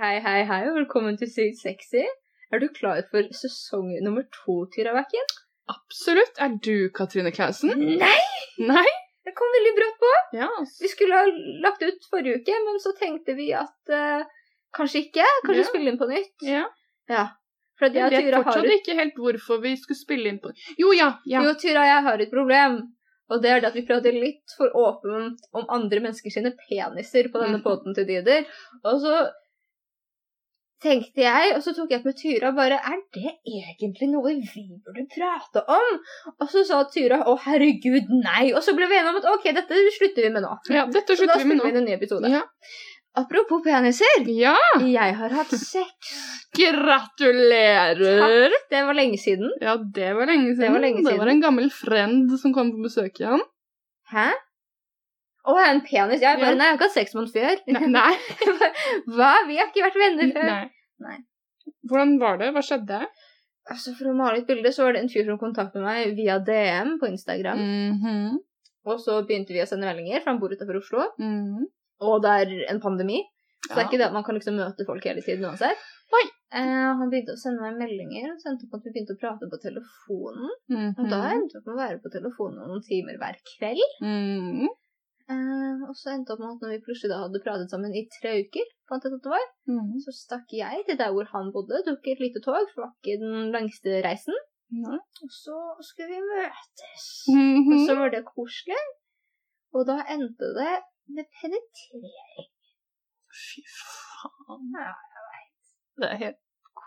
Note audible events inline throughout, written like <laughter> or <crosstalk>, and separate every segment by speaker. Speaker 1: Hei, hei, hei, og velkommen til Sykt sexy. Er du klar for sesong nummer to, Tyra Bekken?
Speaker 2: Absolutt. Er du Katrine Clausen?
Speaker 1: <laughs> Nei!
Speaker 2: Nei?
Speaker 1: Det kom veldig brått på.
Speaker 2: Ja.
Speaker 1: Vi skulle ha lagt ut forrige uke, men så tenkte vi at eh, kanskje ikke. Kanskje
Speaker 2: Ja.
Speaker 1: spille inn på nytt.
Speaker 2: ja.
Speaker 1: For at
Speaker 2: Jeg
Speaker 1: jeg og
Speaker 2: vet
Speaker 1: Tyra har
Speaker 2: fortsatt ikke helt hvorfor vi skulle spille inn på Jo, ja. ja.
Speaker 1: Jo, Tyra, jeg har et problem. Og det er det at vi prater litt for åpent om andre mennesker sine peniser på denne
Speaker 2: Mhm.
Speaker 1: podden til tider. Og så tenkte jeg, og så tok jeg opp med Tyra bare Er det egentlig noe vi burde prate om? Og så sa Tyra å herregud, nei. Og så ble vi enige om at ok, dette slutter vi med nå.
Speaker 2: ja dette
Speaker 1: Så da
Speaker 2: slutter vi med
Speaker 1: spiller vi
Speaker 2: nå.
Speaker 1: inn en ny episode.
Speaker 2: Ja.
Speaker 1: Apropos peniser.
Speaker 2: ja.
Speaker 1: Jeg har hatt sex.
Speaker 2: Gratulerer.
Speaker 1: Det var lenge siden.
Speaker 2: Ja, det var lenge siden.
Speaker 1: Det var lenge
Speaker 2: Det var
Speaker 1: siden.
Speaker 2: en gammel friend som kom på
Speaker 1: <laughs>
Speaker 2: besøk igjen.
Speaker 1: Hæ? Å, jeg har en penis. Jeg bare
Speaker 2: Ja.
Speaker 1: Nei, jeg har ikke hatt sex med han før.
Speaker 2: Nei. Nei.
Speaker 1: Hva? Vi har ikke vært venner før.
Speaker 2: Nei.
Speaker 1: Nei.
Speaker 2: Hvordan var det? Hva skjedde?
Speaker 1: Altså, For å male et bilde, så var det en fyr som kontaktet meg via DM på Instagram.
Speaker 2: Mhm.
Speaker 1: Og så begynte vi å sende meldinger, for han bor utenfor Oslo.
Speaker 2: Mhm.
Speaker 1: Og det er en pandemi, så det er
Speaker 2: Ja.
Speaker 1: ikke det at man kan liksom møte folk hele tiden uansett.
Speaker 2: Nei.
Speaker 1: Eh, han begynte å sende meg meldinger, og sendte på at vi begynte å prate på telefonen.
Speaker 2: Mhm.
Speaker 1: Og da endte vi opp med å være på telefonen noen timer hver kveld.
Speaker 2: Mhm.
Speaker 1: Eh, og så endte opp med at når vi plutselig da hadde pratet sammen i tre uker, fant jeg ut at det var,
Speaker 2: Mhm.
Speaker 1: så stakk jeg til der hvor han bodde, tok et lite tog, for det var ikke den lengste reisen.
Speaker 2: Nei.
Speaker 1: Og så skulle vi møtes. Og
Speaker 2: Mhm.
Speaker 1: så var det koselig. Og da endte det med penetrering.
Speaker 2: Fy faen. Det er helt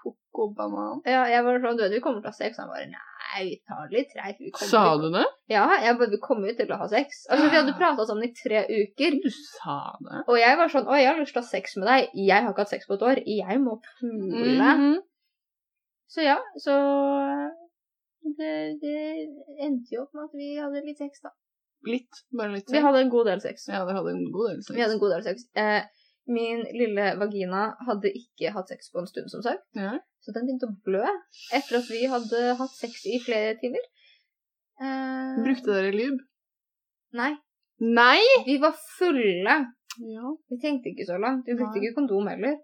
Speaker 2: koko banan.
Speaker 1: Ja, jeg var sånn Du, du kommer til å ha sex. Han bare Nei, vi tar det litt treigt. vi kommer
Speaker 2: Sa
Speaker 1: til-
Speaker 2: du Ah. det?
Speaker 1: Ja, jeg bare Vi kommer jo til å ha sex. Altså, vi hadde prata sammen i tre uker.
Speaker 2: Du sa det.
Speaker 1: Og jeg var sånn Å, jeg har lyst til å ha sex med deg. Jeg har ikke hatt sex på et år. Jeg må pule.
Speaker 2: Mhm.
Speaker 1: Så ja, så eh, det, det endte jo opp med at vi hadde litt sex, da.
Speaker 2: Litt. Bare litt.
Speaker 1: Vi hadde en god del sex.
Speaker 2: Ja, dere hadde en god del sex.
Speaker 1: Vi hadde en god del sex. Eh, min lille vagina hadde ikke hatt sex på en stund, som sagt.
Speaker 2: Ja.
Speaker 1: Så den begynte å blø etter at vi hadde hatt sex i flere timer. Eh,
Speaker 2: Brukte dere lube?
Speaker 1: Nei.
Speaker 2: Nei!
Speaker 1: Vi var fulle.
Speaker 2: Ja.
Speaker 1: Vi tenkte ikke så langt. Vi brukte
Speaker 2: Nei.
Speaker 1: ikke kondom heller.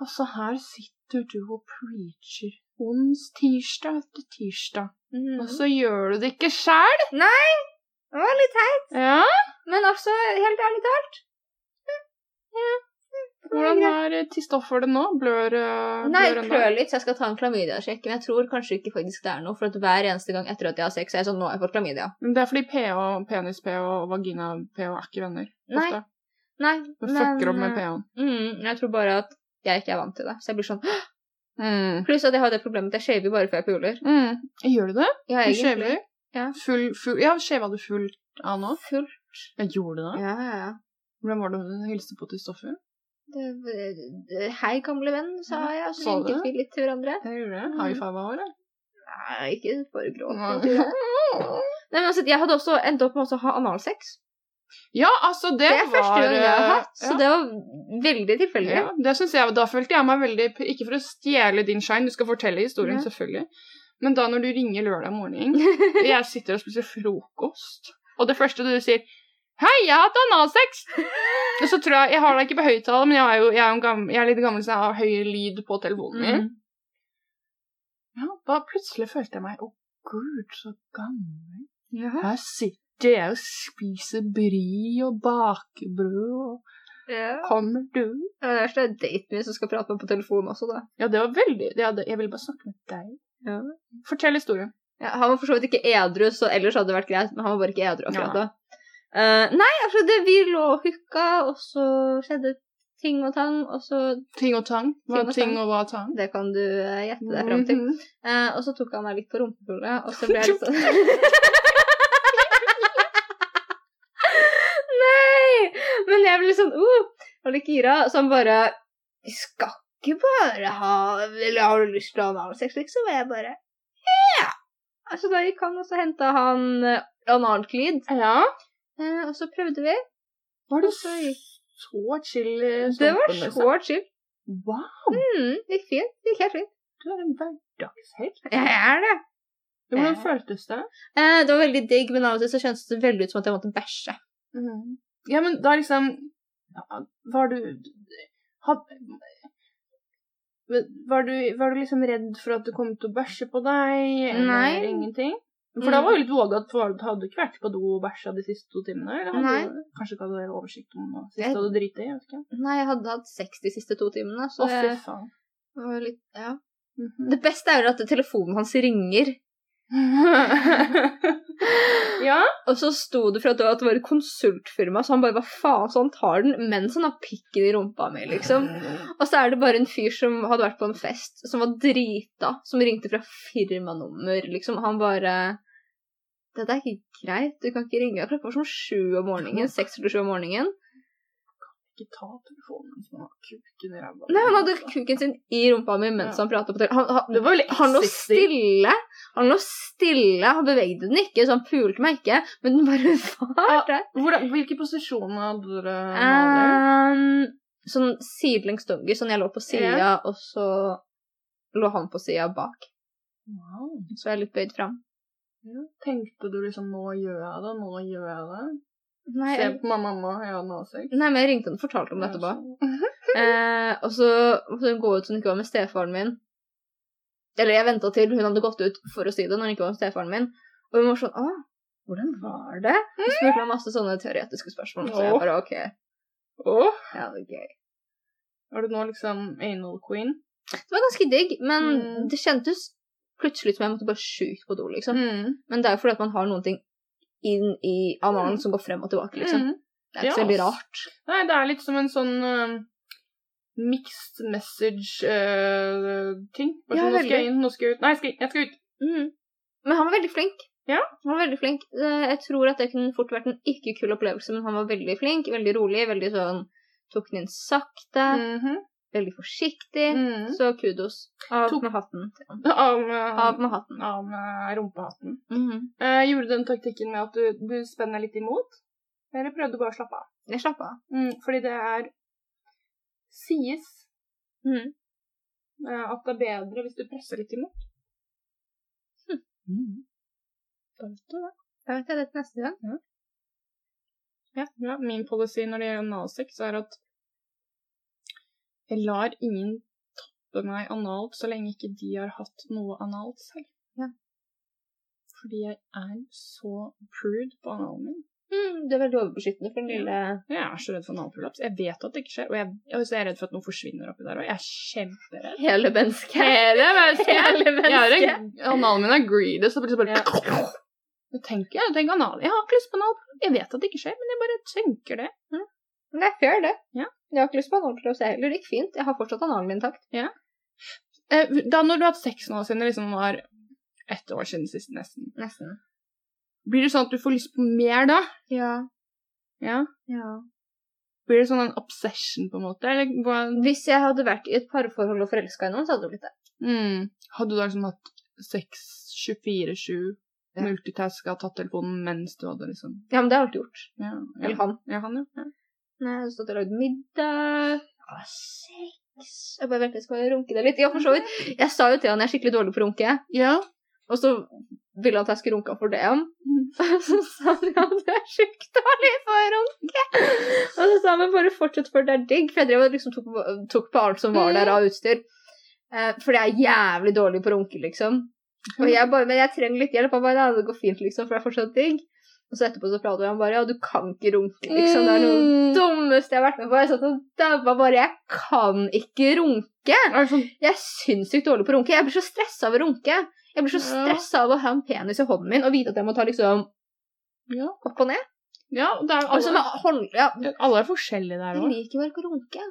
Speaker 2: Altså, her sitter du og preacher ons tirsdag etter tirsdag,
Speaker 1: Mhm.
Speaker 2: og så gjør du det ikke sjæl!
Speaker 1: Det var litt teit.
Speaker 2: Ja.
Speaker 1: Men altså, helt ærlig talt
Speaker 2: Hvordan har eh, Kristoffer det nå? Blør eh,
Speaker 1: Nei,
Speaker 2: blør han da?
Speaker 1: klør litt, så jeg skal ta en klamydia-sjekk. Men jeg tror kanskje ikke faktisk det er noe, for at hver eneste gang etter at jeg har sex, så er jeg sånn Nå har jeg fått klamydia.
Speaker 2: Men Det er fordi pH, penis-pH og vagina-pH er ikke venner.
Speaker 1: Nei,
Speaker 2: ofte.
Speaker 1: Nei,
Speaker 2: De fucker opp
Speaker 1: eh,
Speaker 2: med pH-en.
Speaker 1: Mm, jeg tror bare at jeg ikke er vant til det. Så jeg blir sånn
Speaker 2: Mm.
Speaker 1: Pluss at jeg har det problemet at jeg shaver bare før jeg puler.
Speaker 2: Mm. Gjør du det?
Speaker 1: Ja,
Speaker 2: Du
Speaker 1: egentlig.
Speaker 2: skjever?
Speaker 1: Ja.
Speaker 2: Full, full, ja, skjeva du fullt av nå?
Speaker 1: Full.
Speaker 2: Jeg gjorde det.
Speaker 1: Ja, ja, ja.
Speaker 2: Hvordan var det hun hilste på til Stoffer?
Speaker 1: Det, det, hei, gamle venn, sa jeg, og så
Speaker 2: Sa du
Speaker 1: vinket
Speaker 2: det?
Speaker 1: vi litt til hverandre.
Speaker 2: Jeg gjorde det.
Speaker 1: Mm.
Speaker 2: High five av henne.
Speaker 1: Nei, ikke for å gråte.
Speaker 2: Nei.
Speaker 1: tror jeg. <laughs> Nei, men altså, jeg hadde også endt opp med også å ha analsex.
Speaker 2: Ja, altså, det,
Speaker 1: Det er
Speaker 2: var
Speaker 1: første gang jeg har
Speaker 2: eh,
Speaker 1: hatt, så det var veldig tilfeldig.
Speaker 2: ja, det synes jeg, Da følte jeg meg veldig Ikke for å stjele din shine, du skal fortelle historien,
Speaker 1: Ja.
Speaker 2: selvfølgelig. Men da når du ringer
Speaker 1: <laughs>
Speaker 2: lørdag morgen Jeg sitter og spiser frokost, og det første du sier 'Hei, jeg har hatt analsex!' Og så tror jeg Jeg har deg ikke på høyttaler, men jeg er jo jeg er, jo en gammel, jeg er litt gammel, så jeg har høy lyd på telefonen min.
Speaker 1: Mm.
Speaker 2: Ja, da plutselig følte jeg meg Å, gud, så gammel.
Speaker 1: Jaha.
Speaker 2: Her sitter jeg og spiser bry og bakebrød, og
Speaker 1: Ja.
Speaker 2: kommer du?
Speaker 1: Det verste er daten min som skal prate med på telefon også, da.
Speaker 2: Ja, det var veldig ja, det, Jeg ville bare snakke med deg.
Speaker 1: Ja.
Speaker 2: Fortell historien.
Speaker 1: Ja, han var for så vidt ikke edru, så ellers hadde det vært greit, men han var bare ikke edru akkurat da. Eh, nei, altså, det, vi lå og hooka, og så skjedde ting og tang, og så
Speaker 2: Ting og tang. Hva
Speaker 1: Ting og
Speaker 2: ting, ting og hva er tang?
Speaker 1: Det kan du eh, gjette deg fram til.
Speaker 2: Mhm.
Speaker 1: Eh, og så tok han meg litt på rumpehullet, og så ble jeg litt sånn <laughs> Nei! Men jeg ble litt sånn uh, og litt gira, så han bare Vi skal ikke bare ha Eller har du lyst til å ha analsex, liksom? Og jeg bare Ja! Altså, da gikk han, og så henta han eh, analklid,
Speaker 2: Ja.
Speaker 1: eh, og så prøvde vi.
Speaker 2: Var
Speaker 1: Og
Speaker 2: det
Speaker 1: så gikk-
Speaker 2: så chill? eh,
Speaker 1: Det var
Speaker 2: sånn på
Speaker 1: så chill.
Speaker 2: nesa? Wow,
Speaker 1: Mm, det gikk fint. Det gikk helt fint.
Speaker 2: du er en hverdagshelt.
Speaker 1: Jeg er det.
Speaker 2: Hvordan
Speaker 1: Ja.
Speaker 2: føltes det?
Speaker 1: Eh, det var veldig digg, men av og til så kjentes det veldig ut som at jeg måtte bæsje.
Speaker 2: Mhm. Ja, men da liksom ja, Var du had, Var du, var du liksom redd for at det kom til å bæsje på deg? Eller
Speaker 1: Nei.
Speaker 2: ingenting? For
Speaker 1: Mm.
Speaker 2: da var jo litt vågat, for du hadde ikke vært på do og bæsja de siste to timene? Eller hadde
Speaker 1: Nei.
Speaker 2: du kanskje ikke hadde oversikt om hva sist
Speaker 1: Jeg-
Speaker 2: du hadde driti i? jeg vet ikke.
Speaker 1: Nei, jeg hadde hatt sex de siste to timene, så
Speaker 2: Å, fy
Speaker 1: jeg
Speaker 2: faen.
Speaker 1: var litt Ja.
Speaker 2: Mhm. <laughs>
Speaker 1: Det beste er jo at telefonen hans ringer.
Speaker 2: ja?
Speaker 1: Og så sto det fra at det var- at det var et konsultfirma, så han bare hva faen, så han tar den mens han har pikken i rumpa mi,
Speaker 2: <laughs>
Speaker 1: liksom. Og så er det bare en fyr som hadde vært på en fest, som var drita, som ringte fra firmanummer, liksom. Han bare Dette er ikke greit, du kan ikke ringe. Klokka var sånn sju om morgenen. Seks eller sju om morgenen.
Speaker 2: Ikke ta telefonen som har kuken i ræva.
Speaker 1: Nei, han hadde kuken sin i rumpa mi mens
Speaker 2: Ja.
Speaker 1: han prata på telefonen. Han,
Speaker 2: Det
Speaker 1: han,
Speaker 2: var veldig
Speaker 1: han lå
Speaker 2: sexy.
Speaker 1: stille. Han lå stille, han bevegde den ikke, så han pulte meg ikke, men den bare <laughs> var der.
Speaker 2: Hvordan, hvilke posisjoner hadde dere?
Speaker 1: Ah, Eh,
Speaker 2: Nadia?
Speaker 1: Ehm, sånn sidelengs dunker, sånn jeg lå på sida, og så lå han på sida bak.
Speaker 2: Wow.
Speaker 1: Så jeg er litt bøyd fram.
Speaker 2: Ja. Tenkte du liksom 'nå gjør jeg det', 'nå gjør jeg det'?
Speaker 1: Nei,
Speaker 2: Se
Speaker 1: jeg,
Speaker 2: på meg, mamma, jeg har nasex.
Speaker 1: nei, men jeg ringte han og fortalte om det etterpå. Eh, og så måtte hun gå ut så hun ikke var med stefaren min. Eller jeg venta til hun hadde gått ut for å si det når hun ikke var med stefaren min. Og hun var sånn 'Å, hvordan var det?' Hun spurte meg masse sånne teoretiske spørsmål, så jeg
Speaker 2: Åh.
Speaker 1: bare OK.
Speaker 2: <laughs> Åh,
Speaker 1: Ja, det er gøy.
Speaker 2: er du nå liksom anal queen?
Speaker 1: Det var ganske digg, men
Speaker 2: Mm.
Speaker 1: det kjentes plutselig ut som jeg måtte bare sjukt på do, liksom.
Speaker 2: Mm.
Speaker 1: Men det er jo fordi at man har noen ting inn i analen som går frem og tilbake, liksom.
Speaker 2: Mm.
Speaker 1: Det er ikke så
Speaker 2: Ja,
Speaker 1: veldig
Speaker 2: ass.
Speaker 1: rart.
Speaker 2: Nei, det er litt som en sånn eh, mixed message-ting. Bare
Speaker 1: Ja,
Speaker 2: sånn, nå skal
Speaker 1: veldig.
Speaker 2: jeg inn, nå skal jeg ut. Nei, jeg skal, inn, jeg skal ut!
Speaker 1: Mm. Men han var veldig flink.
Speaker 2: Ja.
Speaker 1: Han var veldig flink. Eh, Jeg tror at det kunne fort vært en ikke kul opplevelse, men han var veldig flink, veldig rolig, veldig sånn Tok den inn sakte,
Speaker 2: Mhm.
Speaker 1: veldig forsiktig.
Speaker 2: Mhm.
Speaker 1: Så kudos. Av
Speaker 2: Tok-
Speaker 1: med hatten.
Speaker 2: <laughs> Av med,
Speaker 1: Mm. Av med hatten.
Speaker 2: av med rumpehatten.
Speaker 1: Mhm.
Speaker 2: Eh, gjorde du den taktikken med at du, du spenner litt imot? Eller prøvde du bare å slappe av?
Speaker 1: Jeg slapp av.
Speaker 2: Mm, fordi det er sies Mm.
Speaker 1: Mhm.
Speaker 2: eh, at det er bedre hvis du presser litt imot. Hm.
Speaker 1: Da vet du det. Da vet jeg det til neste gang.
Speaker 2: Ja, ja. Min policy når det gjelder analsex, er at jeg lar ingen toppe meg analt så lenge ikke de har hatt noe analt selv.
Speaker 1: Ja.
Speaker 2: Fordi jeg er så prude på analen min.
Speaker 1: Mm, det er veldig overbeskyttende for den lille
Speaker 2: Jeg er så redd for analprolaps. Jeg vet at det ikke skjer, og jeg, altså, jeg er så redd for at noe forsvinner oppi der òg. Jeg er kjemperedd.
Speaker 1: Hele mennesket.
Speaker 2: Hele
Speaker 1: <laughs>
Speaker 2: mennesket!
Speaker 1: Hele
Speaker 2: Jeg er
Speaker 1: mennesket.
Speaker 2: en, analen min er greedy, så plutselig bare Jeg tenker, jeg tenker anal. Jeg har ikke lyst på anal. Jeg vet at det ikke skjer, men jeg bare tenker det.
Speaker 1: Men det er fair, det.
Speaker 2: Ja.
Speaker 1: Jeg har ikke lyst på analprolaps, jeg heller. Det gikk fint. Jeg har fortsatt analen min intakt.
Speaker 2: Eh, Da når du har hatt sex nå siden det liksom var ett år siden sist, nesten,
Speaker 1: Nesten.
Speaker 2: blir det sånn at du får lyst på mer da?
Speaker 1: Ja.
Speaker 2: Ja. Blir det sånn en obsession, på en måte? Eller hva?
Speaker 1: Hvis jeg hadde vært i et parforhold og forelska i noen, så hadde det blitt det.
Speaker 2: Mm. Hadde du da liksom hatt sex 24-7,
Speaker 1: Ja.
Speaker 2: multitaska, tatt telefonen mens du hadde liksom
Speaker 1: Ja, men det har jeg alltid gjort.
Speaker 2: Ja, ja.
Speaker 1: Eller han.
Speaker 2: ja han, ja.
Speaker 1: Nei, jeg har stått og lagd middag. Jeg har sex. Jeg bare venter, jeg skal runke deg litt. Ja, for så vidt. Jeg sa jo til han jeg er skikkelig dårlig på å runke,
Speaker 2: Ja.
Speaker 1: og så ville han at jeg skulle runke han for det. han. <laughs> Så sa han ja, du er sjukt dårlig på å runke. Og så sa han men bare fortsett, for det er digg. For jeg drev og liksom tok, på- tok på alt som var der av utstyr. Eh, for jeg er jævlig dårlig på å runke, liksom. Og jeg bare, men jeg trenger litt hjelp. Han bare, ja, det går fint, liksom, for det er fortsatt digg. Og så etterpå så prater han bare, ja, du kan ikke runke, liksom. Det er noe
Speaker 2: Mm.
Speaker 1: dummeste jeg har vært med på. Jeg satt og daua bare, jeg kan ikke runke.
Speaker 2: Er det sånn
Speaker 1: Jeg er sinnssykt dårlig på å runke. Jeg blir så stressa av å runke. Jeg blir så
Speaker 2: Ja.
Speaker 1: stressa av å ha en penis i hånden min og vite at jeg må ta liksom
Speaker 2: Ja.
Speaker 1: opp og ned.
Speaker 2: ja det er
Speaker 1: Og så må
Speaker 2: alle,
Speaker 1: jeg holde, ja,
Speaker 2: alle er forskjellige der
Speaker 1: jeg
Speaker 2: òg.
Speaker 1: liker bare ikke å runke.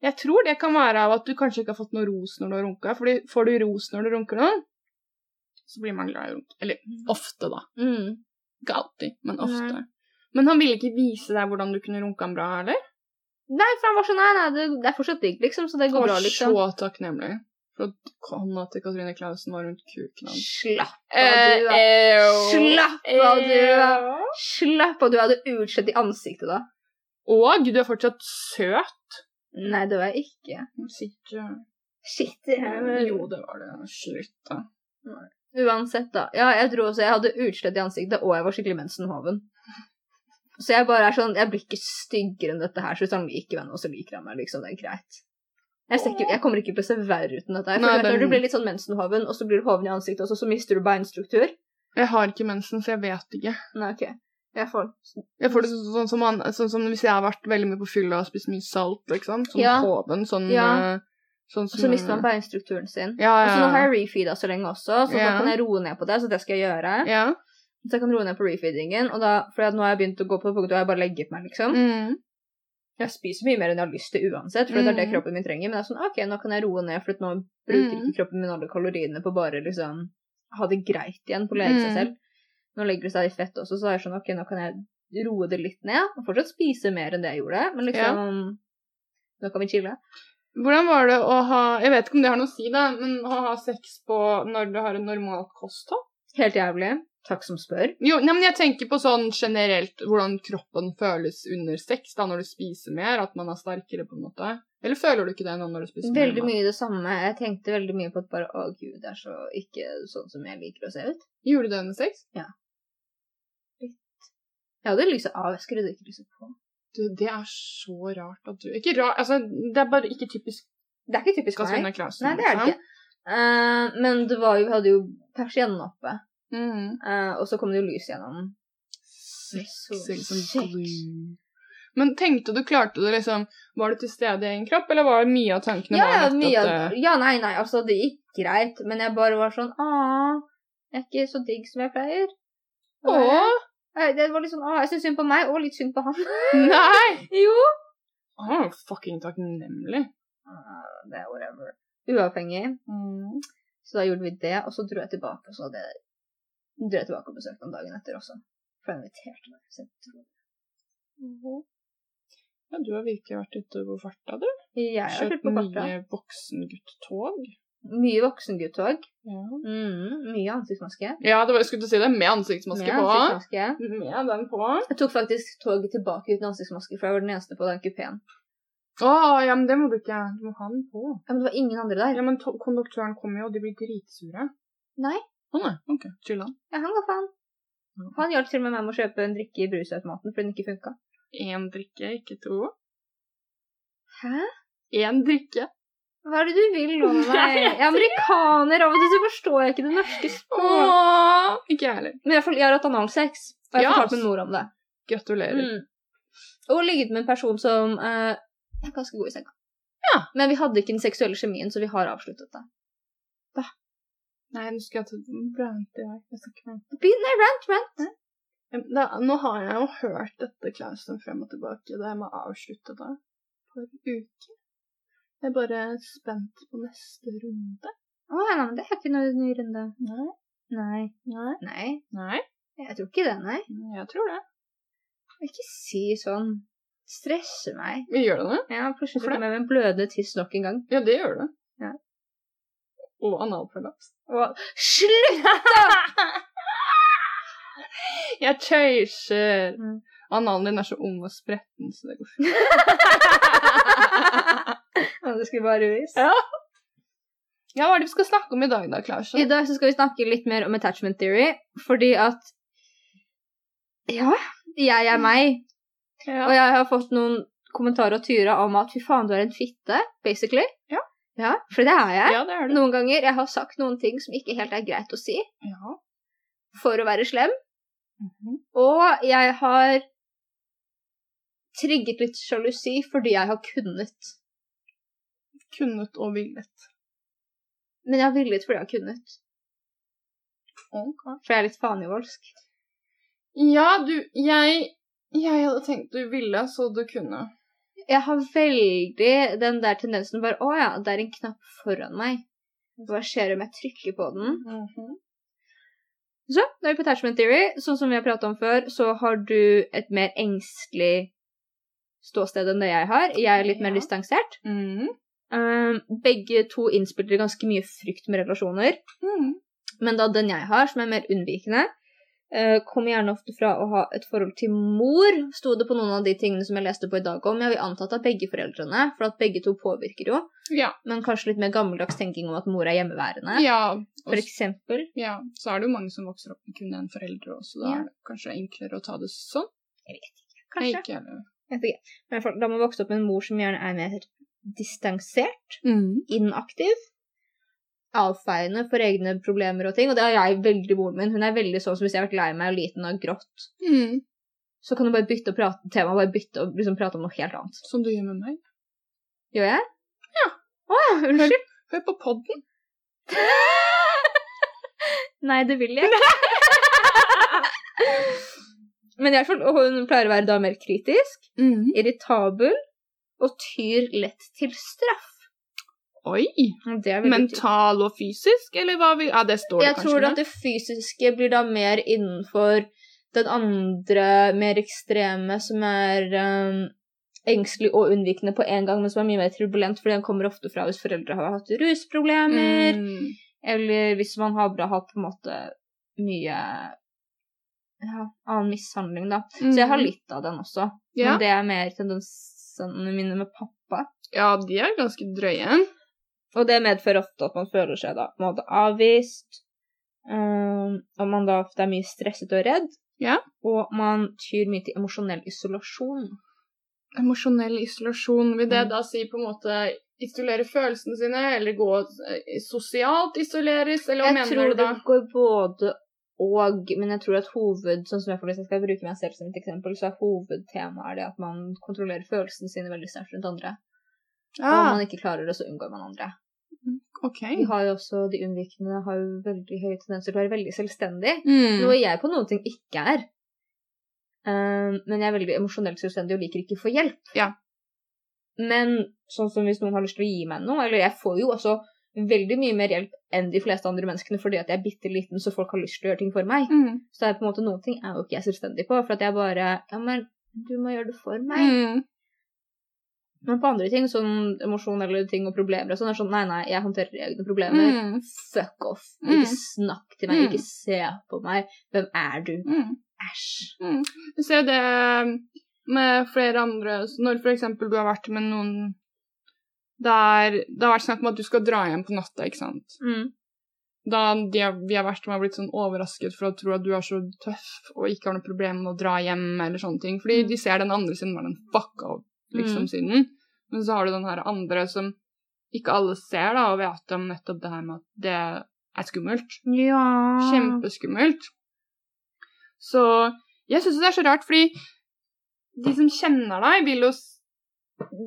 Speaker 2: Jeg tror det kan være av at du kanskje ikke har fått noe ros når du har runka. Fordi får du ros når du runker noen, så blir man glad i å runke. Eller ofte, da.
Speaker 1: Mm.
Speaker 2: Ikke alltid, men ofte. Men han ville ikke vise deg hvordan du kunne runke han bra, eller?
Speaker 1: Nei, for han var sånn, nei, nei, det, det er fortsatt digg, liksom, så det
Speaker 2: Han
Speaker 1: går
Speaker 2: var
Speaker 1: bra, liksom.
Speaker 2: så takknemlig for at hånda til Katrine Klausen var rundt kuken hans.
Speaker 1: Slapp
Speaker 2: Eh,
Speaker 1: av, du, da.
Speaker 2: ew.
Speaker 1: Slapp av, du, da.
Speaker 2: Ew.
Speaker 1: Slapp av, du hadde utslett i ansiktet da.
Speaker 2: Og du er fortsatt søt.
Speaker 1: Nei, det var jeg ikke.
Speaker 2: Sikkert.
Speaker 1: Shit. det er vel-
Speaker 2: Jo, det var det. Slutt, da.
Speaker 1: Uansett, da. Ja, jeg tror også jeg hadde utslett i ansiktet, og jeg var skikkelig mensenhoven. <laughs> Så jeg bare er sånn, jeg blir ikke styggere enn dette her, så hvis han liker meg nå, så liker han meg, liksom. Det er greit. Jeg, ser ikke, jeg kommer ikke til å se verre uten dette. her, For
Speaker 2: Nei,
Speaker 1: du vet, Når
Speaker 2: den-
Speaker 1: du blir litt sånn mensenhoven, og så blir du hoven i ansiktet også, så mister du beinstruktur.
Speaker 2: Jeg har ikke mensen, så jeg vet ikke.
Speaker 1: Nei, ok. Jeg får
Speaker 2: Jeg får det så- sånn som, man, sånn som hvis jeg har vært veldig mye på fylla og spist mye salt, liksom. Sånn
Speaker 1: Ja.
Speaker 2: hoven, sånn,
Speaker 1: Ja.
Speaker 2: eh, sånn
Speaker 1: Og så mister man beinstrukturen sin.
Speaker 2: Ja,
Speaker 1: Og
Speaker 2: ja.
Speaker 1: så nå har jeg refeeda så lenge også, så
Speaker 2: Ja.
Speaker 1: nå kan jeg roe ned på det. Så det skal jeg gjøre.
Speaker 2: ja.
Speaker 1: Så jeg kan roe ned på refeedingen. Og da, for at nå har jeg begynt å gå på punktet hvor jeg bare legger på meg, liksom.
Speaker 2: Mm.
Speaker 1: Jeg spiser mye mer enn jeg har lyst til uansett, for det er det
Speaker 2: Mm.
Speaker 1: kroppen min trenger. Men det er sånn, ok, nå kan jeg roe ned, for at nå bruker
Speaker 2: Mm.
Speaker 1: ikke kroppen min alle kaloriene på bare liksom ha det greit igjen, polere
Speaker 2: Mm.
Speaker 1: seg selv. Nå legger det seg i fett også, så er jeg sånn, ok, nå kan jeg roe det litt ned. Og fortsatt spise mer enn det jeg gjorde, men liksom Nå kan vi chille.
Speaker 2: Hvordan var det å ha Jeg vet ikke om det har noe å si, da, men å ha sex på når du har et normalt kosthold?
Speaker 1: Helt jævlig. Takk som spør.
Speaker 2: Jo, nei, men jeg tenker på sånn generelt hvordan kroppen føles under sex, da, når du spiser mer, at man er sterkere, på en måte. Eller føler du ikke det nå når du spiser
Speaker 1: Veldig
Speaker 2: mer? mat?
Speaker 1: mye det samme. Jeg tenkte veldig mye på at bare å gud, det er så ikke sånn som jeg liker å se ut.
Speaker 2: Gjorde du det under sex?
Speaker 1: Jeg hadde lyset av, jeg skrudde ikke lyset på.
Speaker 2: Du, det er så rart at du Ikke rart, altså, det er bare ikke typisk
Speaker 1: Det er ikke typisk meg.
Speaker 2: Katrine Klausen.
Speaker 1: Nei, det er det ikke. Eh, men det var jo, vi hadde jo persiennen oppe,
Speaker 2: Mm.
Speaker 1: eh, og så kom det jo lys gjennom den.
Speaker 2: Sexy
Speaker 1: Så
Speaker 2: som
Speaker 1: sykt.
Speaker 2: glue. Men tenkte du, klarte du liksom Var du til stede i egen kropp, eller var det mye av tankene
Speaker 1: Ja, ja,
Speaker 2: var nettopp
Speaker 1: mye,
Speaker 2: det?
Speaker 1: av- ja, nei, nei, altså det gikk greit, men jeg bare var sånn, ah, jeg er ikke så digg som jeg pleier. Det var jeg.
Speaker 2: Åh,
Speaker 1: Nei, Det var litt sånn, ah, jeg synes synd på meg, og litt synd på han. <laughs>
Speaker 2: nei!
Speaker 1: jo!
Speaker 2: Åh, fucking takknemlig.
Speaker 1: Ah, det er whatever. Uavhengig. Mm. Så da gjorde vi det, og så dro jeg tilbake, og så hadde jeg dro jeg tilbake og besøkte han dagen etter også. For han inviterte meg. Så jeg tror
Speaker 2: Ja, du har virkelig vært ute på farta, du.
Speaker 1: jeg har vært
Speaker 2: Kjørt
Speaker 1: ute på farta.
Speaker 2: mye voksengutt-tog.
Speaker 1: Mye voksenguttog.
Speaker 2: Ja.
Speaker 1: Mm, mye ansiktsmaske.
Speaker 2: det var, jeg skulle til å si det. Med ansiktsmaske
Speaker 1: Mye
Speaker 2: på.
Speaker 1: ansiktsmaske.
Speaker 2: Med den på.
Speaker 1: Jeg tok faktisk toget tilbake uten ansiktsmaske, for jeg var den eneste på den kupeen.
Speaker 2: Å, ja, men det må du ikke. Du må ha den på.
Speaker 1: Ja, men det var ingen andre der.
Speaker 2: Ja, men to- konduktøren kommer jo, og de blir dritsure.
Speaker 1: Nei.
Speaker 2: Å nei, ok. Chill an.
Speaker 1: Ja, han ga faen.
Speaker 2: Mm.
Speaker 1: Han hjalp til og med meg med å kjøpe en drikke i brusautomaten fordi den ikke funka.
Speaker 2: Én drikke, ikke to.
Speaker 1: Hæ?
Speaker 2: Én drikke.
Speaker 1: Hva er det du vil nå med meg?
Speaker 2: <laughs> Nei, jeg
Speaker 1: Jeg er amerikaner, av og til så forstår jeg ikke det norske språket.
Speaker 2: Åh, ikke jeg heller.
Speaker 1: Men i hvert fall, jeg har hatt analsex, og jeg har
Speaker 2: Ja.
Speaker 1: fortalt min mor om det.
Speaker 2: Gratulerer.
Speaker 1: Mm. Og ligget med en person som eh, er ganske god i senga.
Speaker 2: Ja.
Speaker 1: Men vi hadde ikke den seksuelle kjemien, så vi har avsluttet det.
Speaker 2: Nei, nå skal jeg ta den brant i vei. Jeg skal ikke være
Speaker 1: Begynn, nei, rant, rant.
Speaker 2: Ja, men Da, nå har jeg jo hørt dette klausen frem og tilbake. Det med å avslutte det for uke. Jeg er bare spent på neste runde.
Speaker 1: Å, nei, men det er ikke noe ny runde.
Speaker 2: Nei.
Speaker 1: Nei.
Speaker 2: Nei.
Speaker 1: Nei,
Speaker 2: Nei.
Speaker 1: jeg tror ikke det, nei.
Speaker 2: Jeg tror det.
Speaker 1: Ikke si sånn. Stresse meg.
Speaker 2: Vi gjør det.
Speaker 1: Ja, plutselig
Speaker 2: Hvorfor det?
Speaker 1: kom jeg med en blødende tiss nok en gang.
Speaker 2: Ja, det gjør det.
Speaker 1: Ja.
Speaker 2: Og analprolaps.
Speaker 1: Og slutt!
Speaker 2: <laughs> Jeg tøyser.
Speaker 1: Mm.
Speaker 2: Analen din er så ung og spretten, så det går fint. <laughs>
Speaker 1: Ja, det skulle bare vise.
Speaker 2: Ja. Ja, hva er det vi skal snakke om i dag da,
Speaker 1: I
Speaker 2: Klausen?
Speaker 1: dag så skal vi snakke litt mer om attachment theory, fordi at Ja, jeg er meg. Og
Speaker 2: Ja.
Speaker 1: jeg har fått noen kommentarer av Tyra om at fy faen, du er en fitte, basically.
Speaker 2: Ja.
Speaker 1: ja for det er jeg.
Speaker 2: ja, det er det.
Speaker 1: Noen ganger jeg har sagt noen ting som ikke helt er greit å si
Speaker 2: Ja.
Speaker 1: for å være slem,
Speaker 2: Mhm.
Speaker 1: og jeg har trigget litt sjalusi fordi jeg har kunnet.
Speaker 2: Kunnet og villet.
Speaker 1: Men jeg har villet fordi jeg har kunnet.
Speaker 2: Ok.
Speaker 1: For jeg er litt fanivoldsk.
Speaker 2: Ja, du, jeg Jeg hadde tenkt du ville, så du kunne.
Speaker 1: Jeg har veldig den der tendensen bare Å ja, det er en knapp foran meg. Hva skjer om jeg trykker på den? Mhm. Så, når vi er på attachment theory, sånn som vi har pratet om før, så har du et mer engstelig ståsted enn det jeg har. Jeg er litt mer
Speaker 2: Ja.
Speaker 1: distansert.
Speaker 2: Mm.
Speaker 1: Um, begge to innspiller ganske mye frykt med relasjoner.
Speaker 2: Mm.
Speaker 1: Men da den jeg har, som er mer unnvikende, eh, kommer gjerne ofte fra å ha et forhold til mor, sto det på noen av de tingene som jeg leste på i dag om. Jeg vil anta at det er begge foreldrene, for at begge to påvirker jo.
Speaker 2: Ja.
Speaker 1: Men kanskje litt mer gammeldags tenking om at mor er hjemmeværende.
Speaker 2: Ja, og,
Speaker 1: For eksempel.
Speaker 2: ja. Så er det jo mange som vokser opp med kun én forelder også, så da
Speaker 1: Ja.
Speaker 2: er det kanskje enklere å ta det sånn.
Speaker 1: Jeg vet ikke.
Speaker 2: Nei,
Speaker 1: Kanskje.
Speaker 2: Ikke, jeg heller.
Speaker 1: Jeg vet ikke. Men i hvert fall, da må man vokse opp med en mor som gjerne er mer distansert, inaktiv, avfeiende for egne problemer og ting. Og det har jeg veldig i moren min. Hun er veldig sånn som hvis jeg har vært lei meg og liten og grått,
Speaker 2: Mm.
Speaker 1: så kan du bare bytte og prate tema, bare bytte og liksom prate om noe helt annet.
Speaker 2: Som du gjør med meg.
Speaker 1: Gjør jeg?
Speaker 2: Ja.
Speaker 1: Å ja, unnskyld.
Speaker 2: Hør på podden.
Speaker 1: Nei, det vil jeg ikke. <laughs> Men i hvert fall, hun pleier å være da mer kritisk, irritabel og tyr lett til straff.
Speaker 2: Oi!
Speaker 1: Og Det er veldig typisk.
Speaker 2: Mental og fysisk, eller hva vi Ja, det står det
Speaker 1: Jeg
Speaker 2: kanskje
Speaker 1: tror
Speaker 2: der.
Speaker 1: at det fysiske blir da mer innenfor den andre, mer ekstreme, som er ehm, engstelig og unnvikende på en gang, men som er mye mer turbulent, fordi den kommer ofte fra hvis foreldre har hatt rusproblemer,
Speaker 2: Mm.
Speaker 1: eller hvis man har bra hatt på en måte mye ja, annen mishandling, da. Så jeg har litt av den også.
Speaker 2: Mm. Ja.
Speaker 1: Men det er mer tendensene mine med pappa.
Speaker 2: ja, de er ganske drøye.
Speaker 1: Og det medfører ofte at man føler seg da på en måte avvist. Um, og man da ofte er mye stresset og redd.
Speaker 2: Ja.
Speaker 1: Og man tyr mye til emosjonell isolasjon.
Speaker 2: Emosjonell isolasjon, vil det
Speaker 1: Mm.
Speaker 2: da si på en måte isolere følelsene sine, eller gå eh, sosialt isoleres, eller hva
Speaker 1: Jeg
Speaker 2: mener
Speaker 1: tror
Speaker 2: du
Speaker 1: det
Speaker 2: da?
Speaker 1: går både og, men jeg tror at hoved, sånn som jeg får hvis jeg skal bruke meg selv som et eksempel, så er hovedtemaet det at man kontrollerer følelsene sine veldig sterkt rundt andre. Og
Speaker 2: Ah.
Speaker 1: om man ikke klarer det, så unngår man andre.
Speaker 2: ok.
Speaker 1: De har jo også, de unnvikende har jo veldig høye tendenser til å være veldig selvstendig.
Speaker 2: Mm.
Speaker 1: Noe jeg på noen ting ikke er. Ehm, men jeg er veldig emosjonelt selvstendig og liker ikke å få hjelp.
Speaker 2: Ja.
Speaker 1: Men sånn som hvis noen har lyst til å gi meg noe, eller jeg får jo også veldig mye mer hjelp enn de fleste andre menneskene fordi at jeg er bitte liten, så folk har lyst til å gjøre ting for meg.
Speaker 2: Mm.
Speaker 1: Så det er på en måte noen ting er jo ikke jeg selvstendig på, for at jeg bare Ja, men du må gjøre det for meg.
Speaker 2: Mm.
Speaker 1: Men på andre ting, sånn emosjonelle ting og problemer og sånn, er sånn Nei, nei, jeg håndterer egne problemer.
Speaker 2: Mm.
Speaker 1: Fuck off.
Speaker 2: Mm.
Speaker 1: Ikke snakk til meg.
Speaker 2: Mm.
Speaker 1: Ikke se på meg. Hvem er du?
Speaker 2: Mm.
Speaker 1: Æsj.
Speaker 2: Du ser det mm, med flere andre så Når for eksempel du har vært med noen der det har vært snakk om at du skal dra hjem på natta, ikke sant.
Speaker 1: Mm.
Speaker 2: Da de, har- vi har vært med og blitt sånn overrasket for å tro at du er så tøff og ikke har noe problem med å dra hjem eller sånne ting. Fordi
Speaker 1: Mm.
Speaker 2: de ser den andre siden være den fucka opp, liksom,
Speaker 1: Mm.
Speaker 2: siden. Men så har du den her andre som ikke alle ser, da, og vet om nettopp det her med at det er skummelt.
Speaker 1: Ja
Speaker 2: Kjempeskummelt. Så jeg syns det er så rart, fordi de som kjenner deg, vil jo s-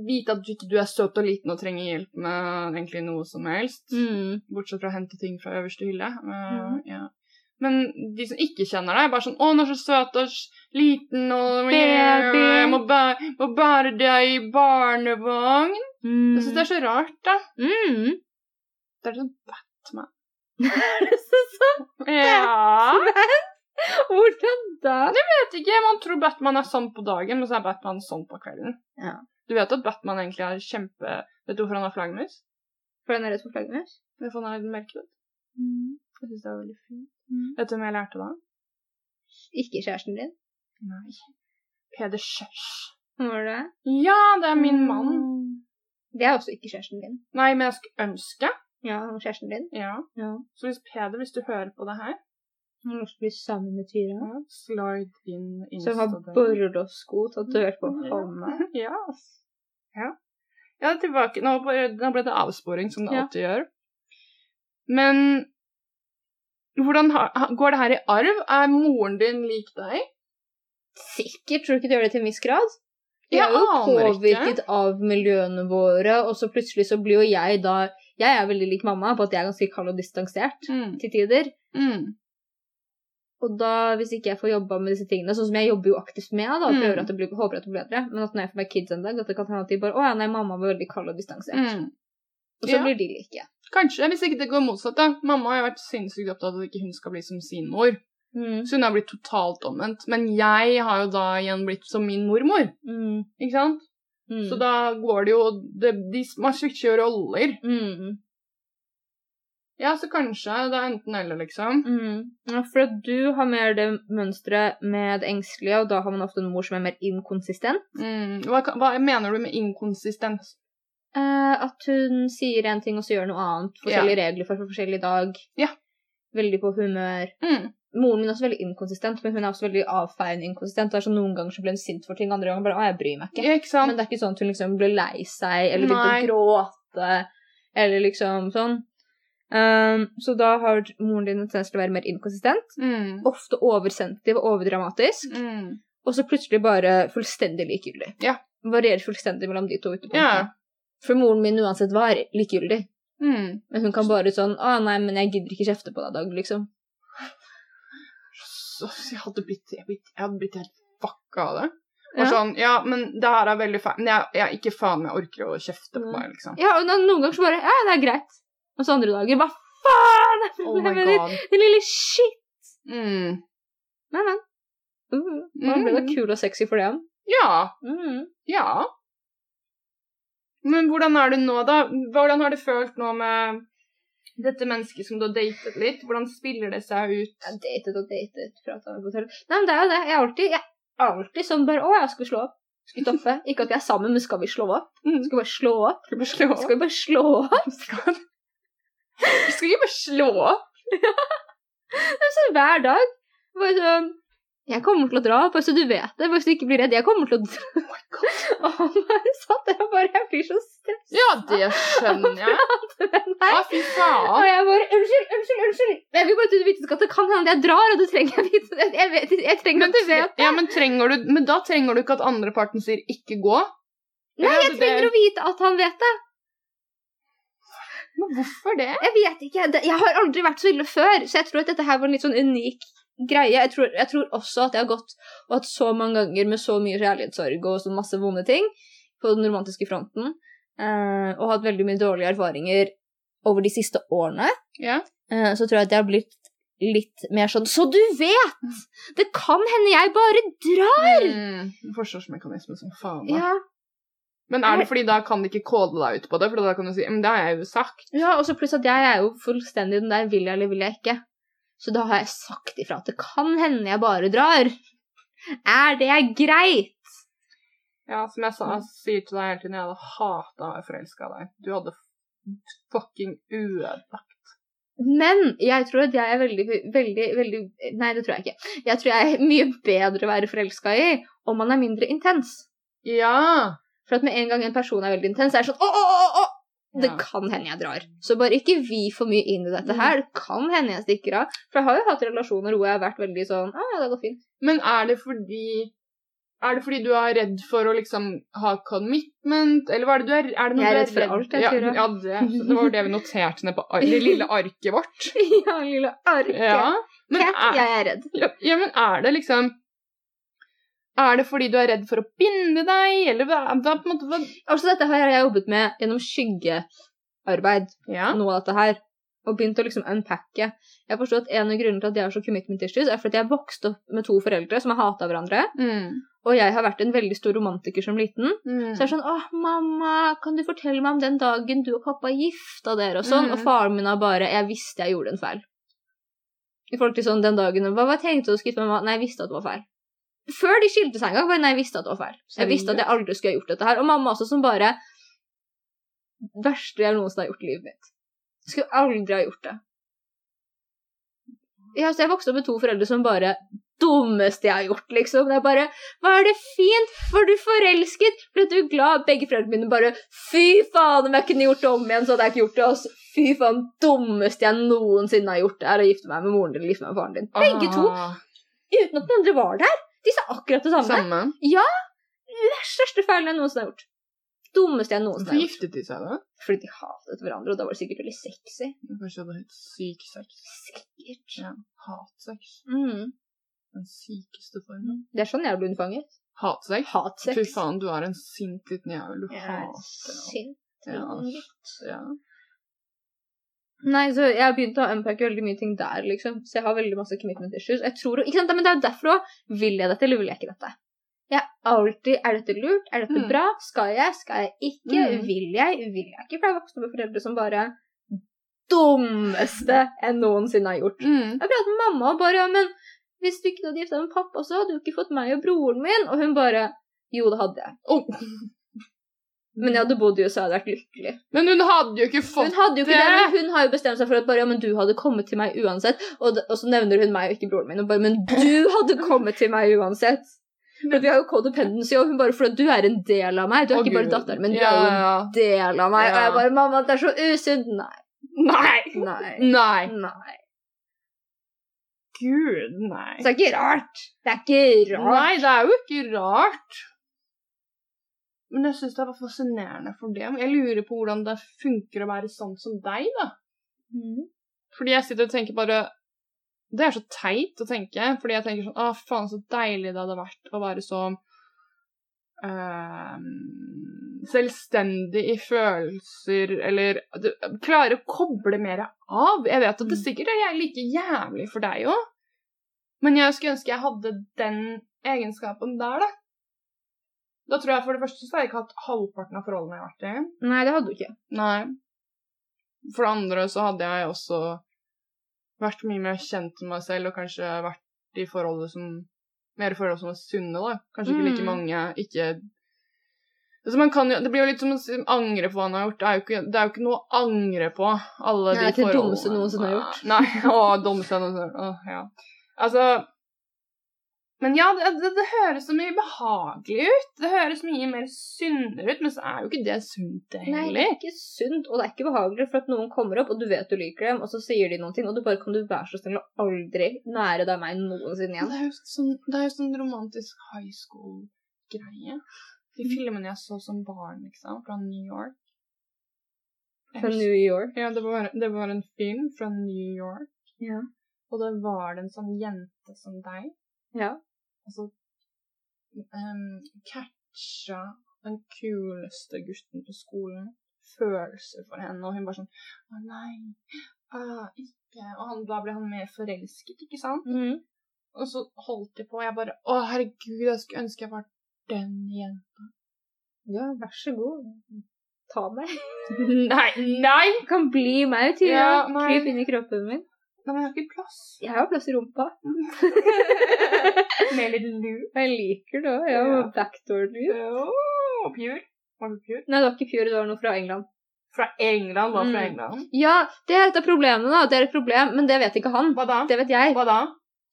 Speaker 2: vite at du ikke du er søt og liten og trenger hjelp med egentlig noe som helst.
Speaker 1: Mm.
Speaker 2: Bortsett fra å hente ting fra øverste hylle. Eh,
Speaker 1: Mhm.
Speaker 2: ja. Men de som ikke kjenner deg, er bare sånn 'Å, hun er så søt og s- liten, og
Speaker 1: Baby.
Speaker 2: jeg må, bæ må bære deg i barnevogn.' Jeg syns det er så rart, da.
Speaker 1: Mm.
Speaker 2: Det er sånn
Speaker 1: <laughs> Er det så sant?
Speaker 2: Ja.
Speaker 1: Hvordan da?
Speaker 2: vet ikke, man tror Batman er sånn på dagen, men så er Batman sånn på kvelden.
Speaker 1: Ja.
Speaker 2: Du vet at Batman egentlig har kjempe... Vet du hvorfor han har flaggermus?
Speaker 1: For den er rett på flaggermus?
Speaker 2: Hvorfor han har melkerød? Jeg synes det var veldig fint.
Speaker 1: Mm.
Speaker 2: Vet du hvem jeg lærte da?
Speaker 1: Ikke kjæresten din?
Speaker 2: Nei. Peder Kjørs.
Speaker 1: Var det?
Speaker 2: Ja, det er
Speaker 1: Mm.
Speaker 2: min mann.
Speaker 1: Det er også ikke kjæresten din.
Speaker 2: Nei, men jeg skulle ønske.
Speaker 1: Ja, han er kjæresten din.
Speaker 2: Ja.
Speaker 1: Ja.
Speaker 2: Så hvis Peder, hvis du hører på det her,
Speaker 1: Han har også blitt sammen med Tyra.
Speaker 2: ja. slide in
Speaker 1: Som har borrelåssko tatovert på hånda.
Speaker 2: <laughs> Ja. ass. Ja. Ja, tilbake. Nå ble, nå ble det avsporing, som det
Speaker 1: Ja.
Speaker 2: alltid gjør. Men hvordan har, ha- går det her i arv? Er moren din lik deg?
Speaker 1: Sikkert tror du ikke du gjør det til en viss grad? Vi
Speaker 2: Jeg
Speaker 1: er jo
Speaker 2: aner ikke.
Speaker 1: påvirket av miljøene våre, og så plutselig så blir jo jeg da Jeg er veldig lik mamma på at jeg er ganske kald og distansert
Speaker 2: Mm.
Speaker 1: til tider.
Speaker 2: Mm.
Speaker 1: Og da, hvis ikke jeg får jobba med disse tingene, sånn som jeg jobber jo aktivt med, da, og
Speaker 2: Mm.
Speaker 1: prøver at det blir, håper at det blir bedre, men at når jeg får meg kids en dag, at det kan hende at de bare 'Å ja, nei, mamma var veldig kald og distansert'.
Speaker 2: Mm.
Speaker 1: Og så
Speaker 2: Ja.
Speaker 1: blir de like.
Speaker 2: Kanskje, hvis ikke det går motsatt. da. Mamma har jo vært sinnssykt opptatt av at ikke hun skal bli som sin mor. Så hun har blitt totalt omvendt. Men jeg har jo da igjen blitt som min mormor.
Speaker 1: Mm.
Speaker 2: ikke sant?
Speaker 1: Mm.
Speaker 2: Så da går det jo det, de, Man switcher jo roller.
Speaker 1: mm.
Speaker 2: Ja, så kanskje det er enten eller, liksom.
Speaker 1: Mm. Ja, For at du har mer det mønsteret med det engstelige, og da har man ofte en mor som er mer inkonsistent.
Speaker 2: Mm. Hva, kan- hva mener du med inkonsistens?
Speaker 1: Eh, at hun sier en ting, og så gjør noe annet. Forskjellige regler for, for forskjellig dag.
Speaker 2: Ja.
Speaker 1: Veldig på humør.
Speaker 2: Mm.
Speaker 1: Moren min er også veldig inkonsistent, men hun er også veldig avfeiende inkonsistent. Det er sånn Noen ganger så blir hun sint for ting, andre ganger bare 'Å, jeg bryr meg ikke'.
Speaker 2: Ja, ikke sant?
Speaker 1: Men det er ikke sånn at hun liksom ble lei seg, eller begynte
Speaker 2: Nei.
Speaker 1: å gråte, eller liksom sånn. Ehm, så da har moren din en tendens til å være mer inkonsistent.
Speaker 2: Mm.
Speaker 1: Ofte oversensitiv og overdramatisk.
Speaker 2: Mm.
Speaker 1: Og så plutselig bare fullstendig likegyldig.
Speaker 2: Ja.
Speaker 1: Varierer fullstendig mellom de to ytterpunktene.
Speaker 2: Ja.
Speaker 1: For moren min uansett var likegyldig.
Speaker 2: Mm.
Speaker 1: Men hun kan bare sånn 'Å, nei, men jeg gidder ikke kjefte på deg, Dag', liksom.
Speaker 2: Så jeg hadde blitt, jeg, blitt, jeg hadde blitt helt fucka av det.
Speaker 1: Ja.
Speaker 2: Bare sånn, ja, men det her er veldig feil. Men jeg, jeg ikke faen meg orker å kjefte på
Speaker 1: Mm.
Speaker 2: meg,
Speaker 1: <laughs>
Speaker 2: liksom.
Speaker 1: Ja, og da- noen ganger så bare 'Ja, det er greit'. Og så andre dager 'Hva faen?' <laughs>
Speaker 2: Oh my
Speaker 1: Men
Speaker 2: god.
Speaker 1: Den lille shit.
Speaker 2: Mm.
Speaker 1: Nei, nei. Uh, man ble da
Speaker 2: Mm.
Speaker 1: kul og sexy for det, han.
Speaker 2: Ja,
Speaker 1: Mm.
Speaker 2: ja. Men hvordan er det nå, da? Hvordan har det følt nå med dette mennesket som du har datet litt? Hvordan spiller det seg ut?
Speaker 1: Jeg datet og datet. pratet med hotell. Nei, men det er jo det. Jeg er alltid, jeg er alltid sånn bare Å, jeg skal slå opp. Skal vi toppe? Ikke at vi er sammen, men skal vi slå opp?
Speaker 2: Mm.
Speaker 1: Skal vi bare slå opp?
Speaker 2: Skal vi bare slå opp?
Speaker 1: Skal vi bare slå opp?
Speaker 2: Skal Skal vi bare slå
Speaker 1: <laughs>
Speaker 2: opp?
Speaker 1: Så sånn hver dag. Bare sånn Jeg kommer til å dra, bare så du vet det. Bare så du ikke blir redd. Jeg kommer til å dra. <laughs> Oh my God. jeg satt der og bare Jeg blir så stressa.
Speaker 2: Ja, det skjønner jeg.
Speaker 1: Nei.
Speaker 2: Ja, fy faen.
Speaker 1: Og jeg bare Unnskyld, unnskyld, unnskyld. Men Jeg vil bare at du vet at det kan hende jeg drar, og du trenger jeg vite det. Jeg, vet, jeg trenger at du vet
Speaker 2: Ja, <laughs> men, trenger du, men da trenger du ikke at andre parten sier 'ikke gå'. altså,
Speaker 1: Nei, jeg
Speaker 2: det-
Speaker 1: trenger å vite at han vet det.
Speaker 2: Men hvorfor det?
Speaker 1: Jeg vet ikke. Det- Jeg har aldri vært så ille før, så jeg tror at dette her var en litt sånn unik greie. Jeg tror, jeg tror også at jeg har gått og hatt så mange ganger med så mye kjærlighetssorg og så masse vonde ting på den romantiske fronten, eh, og hatt veldig mye dårlige erfaringer over de siste årene,
Speaker 2: Ja.
Speaker 1: eh, så tror jeg at jeg har blitt litt mer sånn Så du vet! Det kan hende jeg bare drar!
Speaker 2: Mm, forsvarsmekanisme som faen. da.
Speaker 1: Ja,
Speaker 2: Men er det fordi da kan de ikke kode deg ut på det? For da kan du si 'men det har jeg jo sagt'.
Speaker 1: ja og så pluss at jeg er jo fullstendig den der vil jeg eller vil jeg ikke. Så da har jeg sagt ifra at det kan hende jeg bare drar. Er det greit?
Speaker 2: Ja, som jeg, sa,
Speaker 1: Mm.
Speaker 2: jeg sier til deg hele tiden, jeg hadde hata å være forelska i deg. Du hadde fucking ødelagt
Speaker 1: Men jeg tror at jeg er veldig, veldig, veldig Nei, det tror jeg ikke. Jeg tror jeg er mye bedre å være forelska i om man er mindre intens.
Speaker 2: Ja!
Speaker 1: For at med en gang en person er veldig intens, er det sånn Å, å, å, å! Det
Speaker 2: Ja.
Speaker 1: kan hende jeg drar. Så bare ikke vi for mye inn i dette
Speaker 2: Mm.
Speaker 1: her. Det kan hende jeg stikker av. For jeg har jo hatt relasjoner hvor jeg har vært veldig sånn Å, ja, det går fint. <laughs>
Speaker 2: Men er det fordi er det fordi du er redd for å liksom ha commitment, eller hva er det du er, er det noe
Speaker 1: Jeg er
Speaker 2: du
Speaker 1: redd for alt, jeg
Speaker 2: ja,
Speaker 1: tror jeg.
Speaker 2: Ja, det, så det var jo det vi noterte ned på ar
Speaker 1: <laughs>
Speaker 2: det lille arket vårt.
Speaker 1: ja, lille arke.
Speaker 2: Ja. Men
Speaker 1: Cat,
Speaker 2: er,
Speaker 1: jeg er redd.
Speaker 2: Ja, ja, men er det liksom Er det fordi du er redd for å binde deg, eller hva hva- på en måte, hva
Speaker 1: Altså, dette har jeg jobbet med gjennom skyggearbeid.
Speaker 2: Ja.
Speaker 1: noe av dette her. Og begynt å liksom unpacke. Jeg forstår at En av grunnene til at jeg har så commitment issues, er fordi jeg vokste opp med to foreldre som har hata hverandre.
Speaker 2: Mm.
Speaker 1: Og jeg har vært en veldig stor romantiker som liten.
Speaker 2: Mm.
Speaker 1: Så jeg er sånn åh, mamma, kan du fortelle meg om den dagen du og pappa gifta dere?' og sånn.
Speaker 2: Mm.
Speaker 1: Og faren min har bare 'Jeg visste jeg gjorde en feil'. I forhold til sånn den dagen 'Hva, hva tenkte du å skrive med mamma?' 'Nei, jeg visste at det var feil'. Før de skilte seg engang, bare 'Nei, jeg visste at det var feil'. Jeg visste at jeg aldri skulle ha gjort dette her. Og mamma også, som bare 'Verste jeg noensinne har gjort i livet mitt'. Jeg skulle aldri ha gjort det. Ja, så jeg vokste opp med to foreldre som bare Dummeste jeg har gjort, liksom. Det er bare Var det fint? Var du forelsket? Ble du glad? Begge foreldrene mine bare Fy faen, om jeg kunne gjort det om igjen, så hadde jeg ikke gjort det. ass. Fy faen, dummeste jeg noensinne har gjort, er å gifte meg med moren din eller gifte meg med faren din. Begge to,
Speaker 2: Ah,
Speaker 1: uten at den andre var der. De sa akkurat det samme.
Speaker 2: Samme.
Speaker 1: Den største feilen jeg noensinne har gjort. Dummeste jeg noensinne har
Speaker 2: Hvorfor
Speaker 1: gjort.
Speaker 2: giftet de seg, da?
Speaker 1: Fordi de hatet hverandre, og da var det sikkert veldig sexy.
Speaker 2: Kanskje de hadde helt syk sex.
Speaker 1: Sikkert.
Speaker 2: Ja. Hatsex.
Speaker 1: Mm.
Speaker 2: Den sykeste formen.
Speaker 1: Det er sånn jeg ble unnfanget.
Speaker 2: Hatsex?
Speaker 1: Hatsex.
Speaker 2: Fy faen, du er en sint liten jævel. Du
Speaker 1: Jeg er
Speaker 2: hater alt.
Speaker 1: sint.
Speaker 2: Ja,
Speaker 1: liten
Speaker 2: ja.
Speaker 1: Nei, så jeg har begynt å unpacke veldig mye ting der, liksom. Så jeg har veldig masse commitment issues. Og Jeg tror, ikke sant? Men det er jo derfor òg. Vil jeg dette, eller vil jeg ikke dette? Jeg er alltid Er dette lurt? Er dette
Speaker 2: Mm.
Speaker 1: bra? Skal jeg? Skal jeg ikke?
Speaker 2: Mm.
Speaker 1: Vil jeg? Vil jeg ikke? For jeg vokste opp med foreldre som bare Dummeste jeg noensinne har gjort.
Speaker 2: Mm.
Speaker 1: Jeg pratet med mamma og bare ja, men hvis du ikke hadde gifta deg med pappa, så hadde du ikke fått meg og broren min. Og hun bare Jo, det hadde jeg.
Speaker 2: Oh.
Speaker 1: Men jeg hadde bodd i USA og vært lykkelig.
Speaker 2: Men hun hadde jo ikke fått
Speaker 1: Hun hadde jo ikke det,
Speaker 2: det.
Speaker 1: men hun har jo bestemt seg for at bare, ja, men du hadde kommet til meg uansett. Og, d- og så nevner hun meg og ikke broren min, og bare men du hadde kommet til meg
Speaker 2: <laughs>
Speaker 1: uansett. For vi har jo codependency, og hun bare for at du er en del av meg. Du er
Speaker 2: Å,
Speaker 1: ikke bare
Speaker 2: Gud.
Speaker 1: datteren min, du
Speaker 2: ja,
Speaker 1: er jo
Speaker 2: ja.
Speaker 1: en del av meg. Og jeg
Speaker 2: Ja.
Speaker 1: bare mamma, det er så usunt. Nei.
Speaker 2: Nei!
Speaker 1: Nei.
Speaker 2: Nei.
Speaker 1: Nei.
Speaker 2: Gud, nei.
Speaker 1: Så det er ikke rart. Det er ikke rart.
Speaker 2: Nei, det er jo ikke rart. Men jeg syns det er fascinerende for dem. Jeg lurer på hvordan det funker å være sånn som deg, da.
Speaker 1: Mm.
Speaker 2: Fordi jeg sitter og tenker bare Det er så teit å tenke. Fordi jeg tenker sånn Å, faen, så deilig det hadde vært å være så ehm, selvstendig i følelser, eller du, klare å koble mer av. Jeg vet at det sikkert er jeg like jævlig for deg òg, men jeg skulle ønske jeg hadde den egenskapen der, da. Da tror jeg for det første så har jeg ikke hatt halvparten av forholdene jeg har vært i.
Speaker 1: Nei, det hadde du ikke.
Speaker 2: Nei. For det andre så hadde jeg også vært mye mer kjent med meg selv, og kanskje vært i forhold som Mer forhold som var sunne, da. Kanskje ikke like
Speaker 1: Mm.
Speaker 2: mange ikke altså man kan jo, Det blir jo litt som å si- angre på hva man har gjort. Det er jo ikke, det er jo ikke noe å angre på.
Speaker 1: Nei,
Speaker 2: Alle de
Speaker 1: det er ikke det
Speaker 2: forholdene.
Speaker 1: dummeste noensinne jeg har gjort.
Speaker 2: Nei. Å, dummeste jeg noensinne har gjort. Åh, ja. Altså Men ja, det, det, det høres så mye behagelig ut. Det høres mye mer sunnere ut, men så er jo ikke det sunt, det
Speaker 1: Nei,
Speaker 2: heller.
Speaker 1: det er ikke sunt, og det er ikke behagelig, for at noen kommer opp, og du vet du liker dem, og så sier de noen ting, og du bare kan du være så snill og aldri nære deg meg noensinne
Speaker 2: Ja,
Speaker 1: igjen.
Speaker 2: det er jo sånn, det er jo sånn romantisk high school-greie.
Speaker 1: Mm.
Speaker 2: De filmene jeg så som barn, liksom, fra New York. Jeg
Speaker 1: Fra
Speaker 2: husker-
Speaker 1: New York.
Speaker 2: Ja, det var, det var en film fra New York,
Speaker 1: Ja.
Speaker 2: og da var det en sånn jente som deg. altså,
Speaker 1: Ja.
Speaker 2: Og så um, catcha den kuleste gutten på skolen følelser for henne, og hun bare sånn Å nei, ah, ikke Og han, da ble han mer forelsket, ikke sant?
Speaker 1: Mm.
Speaker 2: Og så holdt de på, og jeg bare Å, herregud, jeg skulle ønske jeg var den igjen.
Speaker 1: ja, vær så god. Ta meg.
Speaker 2: <laughs> nei, nei!
Speaker 1: Du kan bli meg, Tyra.
Speaker 2: Ja, nei.
Speaker 1: Kryp inn i kroppen min.
Speaker 2: Nei, men jeg har ikke plass.
Speaker 1: Jeg har jo plass i <laughs> rumpa.
Speaker 2: Med litt lu.
Speaker 1: Jeg liker det òg. Ja.
Speaker 2: Ja.
Speaker 1: Backdoor du.
Speaker 2: Åh, pure. Var det pure?
Speaker 1: Nei, det var ikke Pure, det var noe fra England.
Speaker 2: Fra England, var fra
Speaker 1: Mm.
Speaker 2: England.
Speaker 1: Ja, det er et av problemene, da. Det er et problem, men det vet ikke han.
Speaker 2: Hva da?
Speaker 1: Det vet jeg.
Speaker 2: Hva da?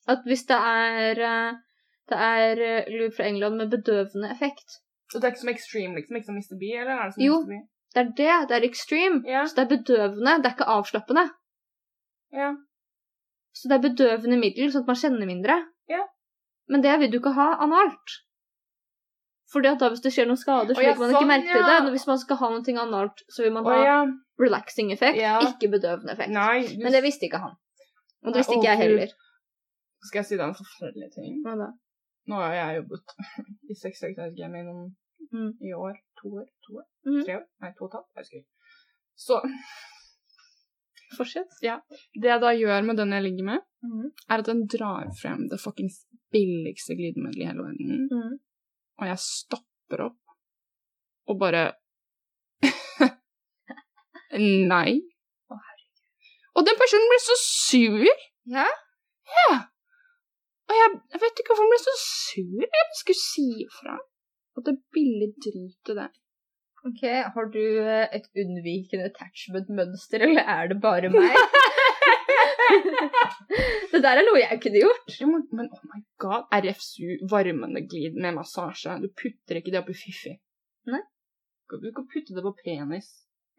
Speaker 1: At hvis det er eh, det er eh, lur fra England med bedøvende effekt.
Speaker 2: Så det er ikke som Extreme, liksom? Ikke som Mr. B, eller er det som
Speaker 1: Jo.
Speaker 2: Mr. B?
Speaker 1: Det er det. Det er extreme.
Speaker 2: Ja.
Speaker 1: Så det er bedøvende. Det er ikke avslappende.
Speaker 2: ja.
Speaker 1: Så det er bedøvende middel, sånn at man kjenner mindre.
Speaker 2: Ja.
Speaker 1: Men det vil du ikke ha analt. Fordi at da hvis det skjer noen skader, så
Speaker 2: Å ja,
Speaker 1: vil man
Speaker 2: sånn,
Speaker 1: ikke merke
Speaker 2: ja.
Speaker 1: det. Men Hvis man skal ha noe analt, så vil man
Speaker 2: Å
Speaker 1: ha
Speaker 2: ja.
Speaker 1: relaxing effekt,
Speaker 2: Ja.
Speaker 1: ikke bedøvende effekt.
Speaker 2: Nei. du-
Speaker 1: Men det visste ikke han. Og
Speaker 2: Nei,
Speaker 1: det visste
Speaker 2: å,
Speaker 1: ikke jeg
Speaker 2: Gud.
Speaker 1: heller.
Speaker 2: Skal jeg si deg en forferdelig ting?
Speaker 1: Hva da?
Speaker 2: Nå har jeg jobbet <laughs> i sexsøknadsgamet i noen
Speaker 1: Mm.
Speaker 2: i år. To år? To år?
Speaker 1: Mm.
Speaker 2: Tre år? Nei, to og et halvt. Jeg husker ikke. Så
Speaker 1: Fortsett.
Speaker 2: det jeg da gjør med den jeg ligger med,
Speaker 1: Mhm.
Speaker 2: er at den drar frem det fuckings billigste glidemiddelet i hele verden,
Speaker 1: Mm.
Speaker 2: og jeg stopper opp og bare <laughs> Nei.
Speaker 1: Å,
Speaker 2: Og den personen ble så sur!
Speaker 1: Ja?
Speaker 2: Ja. Og jeg, jeg vet ikke hvorfor han ble så sur. Jeg bare skulle si ifra. At det er billig drit i det.
Speaker 1: Ok, Har du eh, et unnvikende attachment-mønster, eller er det bare meg? <laughs> det der er noe jeg kunne gjort.
Speaker 2: Jo, men, men oh my god, RFSU, varmende glid med massasje. Du putter ikke det oppi fiffi.
Speaker 1: Nei.
Speaker 2: Du kan putte det på penis.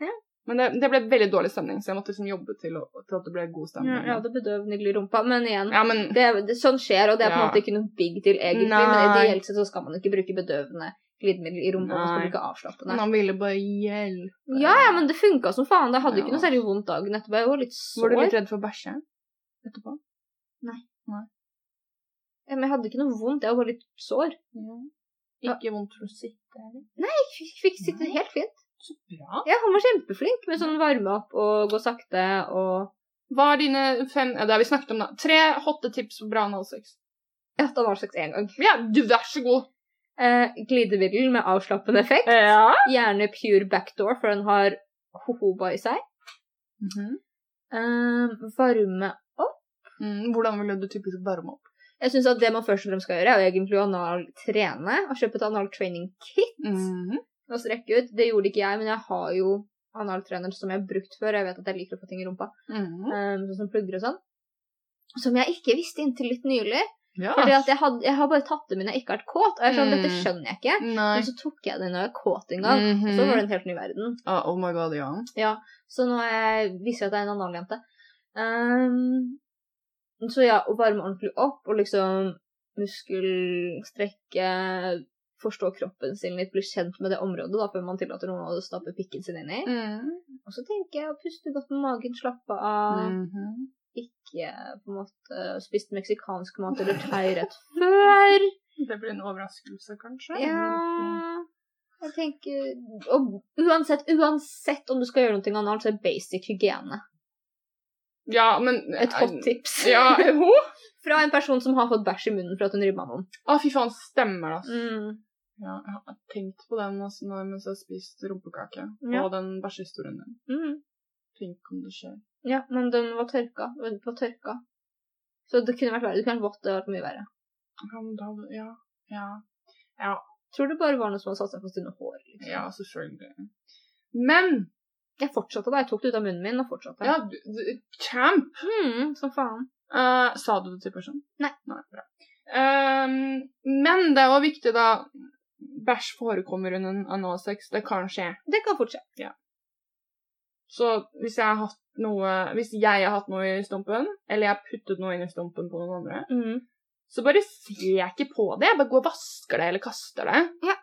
Speaker 1: Ja.
Speaker 2: Men det, det ble veldig dårlig stemning, så jeg måtte liksom jobbe til, å, til at det ble god
Speaker 1: Ja,
Speaker 2: stemning.
Speaker 1: jeg hadde bedøvende i rumpa, men igjen
Speaker 2: Ja, men
Speaker 1: det, det, Sånn skjer, og det er på en
Speaker 2: Ja.
Speaker 1: måte ikke noe big deal egentlig. Men
Speaker 2: Nei.
Speaker 1: ideelt sett så skal man ikke bruke bedøvende glidemiddel i rumpa. Man skal
Speaker 2: Nei.
Speaker 1: bruke avslappende.
Speaker 2: han ville bare hjelpe.
Speaker 1: Ja, ja, men det funka som faen. Jeg hadde jo
Speaker 2: Ja.
Speaker 1: ikke noe særlig vondt dagen etterpå. Jeg var litt sår.
Speaker 2: Var du litt redd for å bæsje etterpå?
Speaker 1: Ja, Men jeg hadde ikke noe vondt. Jeg var bare litt sår.
Speaker 2: Ja.
Speaker 1: Ja.
Speaker 2: Ikke vondt for å sitte heller.
Speaker 1: Jeg fikk, fikk sitte
Speaker 2: Nei.
Speaker 1: helt fint.
Speaker 2: Så bra.
Speaker 1: Ja, han var kjempeflink med sånn varme opp og gå sakte og
Speaker 2: Hva er dine fem ja, Det har vi snakket om, da. Tre hotte tips for bra analsex.
Speaker 1: Jeg hadde analsex én gang.
Speaker 2: Ja, du, vær så god.
Speaker 1: Eh, glidemiddel med avslappende effekt.
Speaker 2: Ja.
Speaker 1: Gjerne pure backdoor, for den har jojoba i seg.
Speaker 2: Mhm.
Speaker 1: Eh, varme
Speaker 2: mm, hvordan ville du typisk varme opp?
Speaker 1: Jeg syns at det man først og fremst skal gjøre, er jo egentlig å anal-trene og kjøpe et anal-training kit.
Speaker 2: Mhm.
Speaker 1: med å strekke ut. Det gjorde ikke jeg, men jeg har jo analtreneren som jeg har brukt før. Jeg vet at jeg liker å få ting i rumpa,
Speaker 2: Mhm.
Speaker 1: um, sånn som plugger og sånn. Som jeg ikke visste inntil litt nylig.
Speaker 2: Ja.
Speaker 1: Fordi at jeg, hadde, jeg har bare tatt det, men jeg har ikke vært kåt. Og jeg er sånn,
Speaker 2: Mm.
Speaker 1: dette skjønner jeg ikke.
Speaker 2: Nei. Mm.
Speaker 1: Men så tok jeg det når jeg var kåt en gang. Og så var det en helt ny verden.
Speaker 2: Ah, oh my god, ja.
Speaker 1: Så nå er jeg, viser jeg at jeg er en analjente. Ehm, så ja, å varme ordentlig opp og liksom muskelstrekke, forstå kroppen sin litt, bli kjent med det området da, før man tillater noen å stappe pikken sin inn i.
Speaker 2: Mhm.
Speaker 1: Og så tenker jeg å puste godt med magen, slappe av,
Speaker 2: Mhm.
Speaker 1: ikke på en måte spist meksikansk mat eller thai rett før.
Speaker 2: Det blir en overraskelse, kanskje. Mhm.
Speaker 1: Ja Jeg tenker Og uansett, uansett om du skal gjøre noe annet, så er basic hygiene
Speaker 2: Ja, men eh,
Speaker 1: et hot tips. <laughs>
Speaker 2: Ja, ho?
Speaker 1: Fra en person som har fått bæsj i munnen for at hun ribba noen.
Speaker 2: Å, ah, fy faen, stemmer det, altså.
Speaker 1: Mm.
Speaker 2: Ja, jeg har tenkt på den altså, nå mens jeg har spist rumpekake.
Speaker 1: Ja.
Speaker 2: Og den bæsjehistorien din.
Speaker 1: Mm.
Speaker 2: Tenk om det skjer.
Speaker 1: Ja, men den var tørka. Den var tørka. Så det kunne vært verre. Det kunne vært vått. Det hadde vært mye verre.
Speaker 2: Ja, men da, ja, ja,
Speaker 1: Tror det bare var noe som hadde satt seg fast under håret. Liksom.
Speaker 2: ja, selvfølgelig. Men
Speaker 1: Jeg fortsatte da. Jeg tok det ut av munnen min og fortsatte.
Speaker 2: ja, du, du, champ!
Speaker 1: Mm, som faen.
Speaker 2: Eh, sa du det til personen?
Speaker 1: Nei.
Speaker 2: bra. Ehm, men det er jo viktig, da. Bæsj forekommer under en analsex. Det kan skje.
Speaker 1: Det kan fortsette.
Speaker 2: Så hvis jeg har hatt noe Hvis jeg har hatt noe i stumpen, eller jeg har puttet noe inn i stumpen på noen andre,
Speaker 1: Mm.
Speaker 2: så bare ser jeg ikke på det. Jeg bare går og vasker det eller kaster det.
Speaker 1: Ja.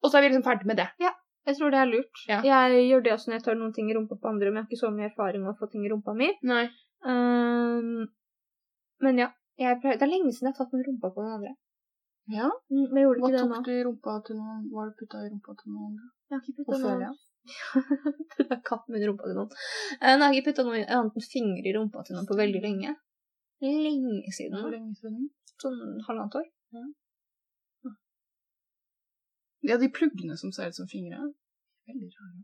Speaker 2: Og så er vi liksom ferdig med det.
Speaker 1: Jeg tror det er lurt.
Speaker 2: Ja.
Speaker 1: Jeg gjør det også når jeg tar noen ting i rumpa på andre, men jeg har ikke så mye erfaring med å få ting i rumpa mi.
Speaker 2: Nei.
Speaker 1: Ehm, men ja. Jeg pleier, det er lenge siden jeg har tatt med rumpa på noen andre.
Speaker 2: Ja.
Speaker 1: Mm, men jeg gjorde
Speaker 2: Hva
Speaker 1: ikke det
Speaker 2: tok
Speaker 1: nå.
Speaker 2: du i rumpa til noen? Hva har du putta i rumpa til noen?
Speaker 1: Jeg har ikke putta
Speaker 2: Og
Speaker 1: noe
Speaker 2: før, ja.
Speaker 1: <laughs> Putta katten min i rumpa til noen. Eh, Nei, jeg har ikke putta noe annet enn fingre i rumpa til noen på veldig lenge. Lenge
Speaker 2: Hvor
Speaker 1: siden.
Speaker 2: lenge siden?
Speaker 1: Sånn halvannet år.
Speaker 2: Ja, de pluggene som ser ut som fingre. Veldig rare.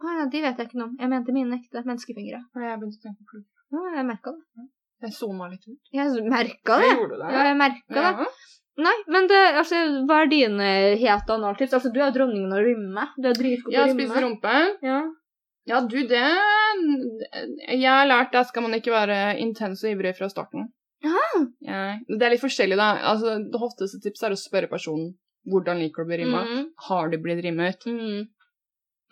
Speaker 1: Ah, ja, de vet jeg ikke noe om. Jeg mente mine ekte menneskefingre.
Speaker 2: Nei, jeg begynte å tenke på plugg.
Speaker 1: Ja, jeg merka det.
Speaker 2: Jeg zona litt ut.
Speaker 1: Jeg merka det!
Speaker 2: gjorde du
Speaker 1: Ja, jeg merket det.
Speaker 2: Ja.
Speaker 1: Nei, men det, altså, hva er dine het analtips? Altså, du er jo dronningen av rymme. Du er dritgod
Speaker 2: Jeg
Speaker 1: til å
Speaker 2: har spist
Speaker 1: rymme.
Speaker 2: rumpe.
Speaker 1: Ja.
Speaker 2: Ja, du, det Jeg har lært at skal man ikke være intens og ivrig fra starten. Ja. Det er litt forskjellig, da. Altså, det hotteste tipset er å spørre personen hvordan liker du å bli rimma.
Speaker 1: Mm.
Speaker 2: Har du blitt rimmet?
Speaker 1: Mm.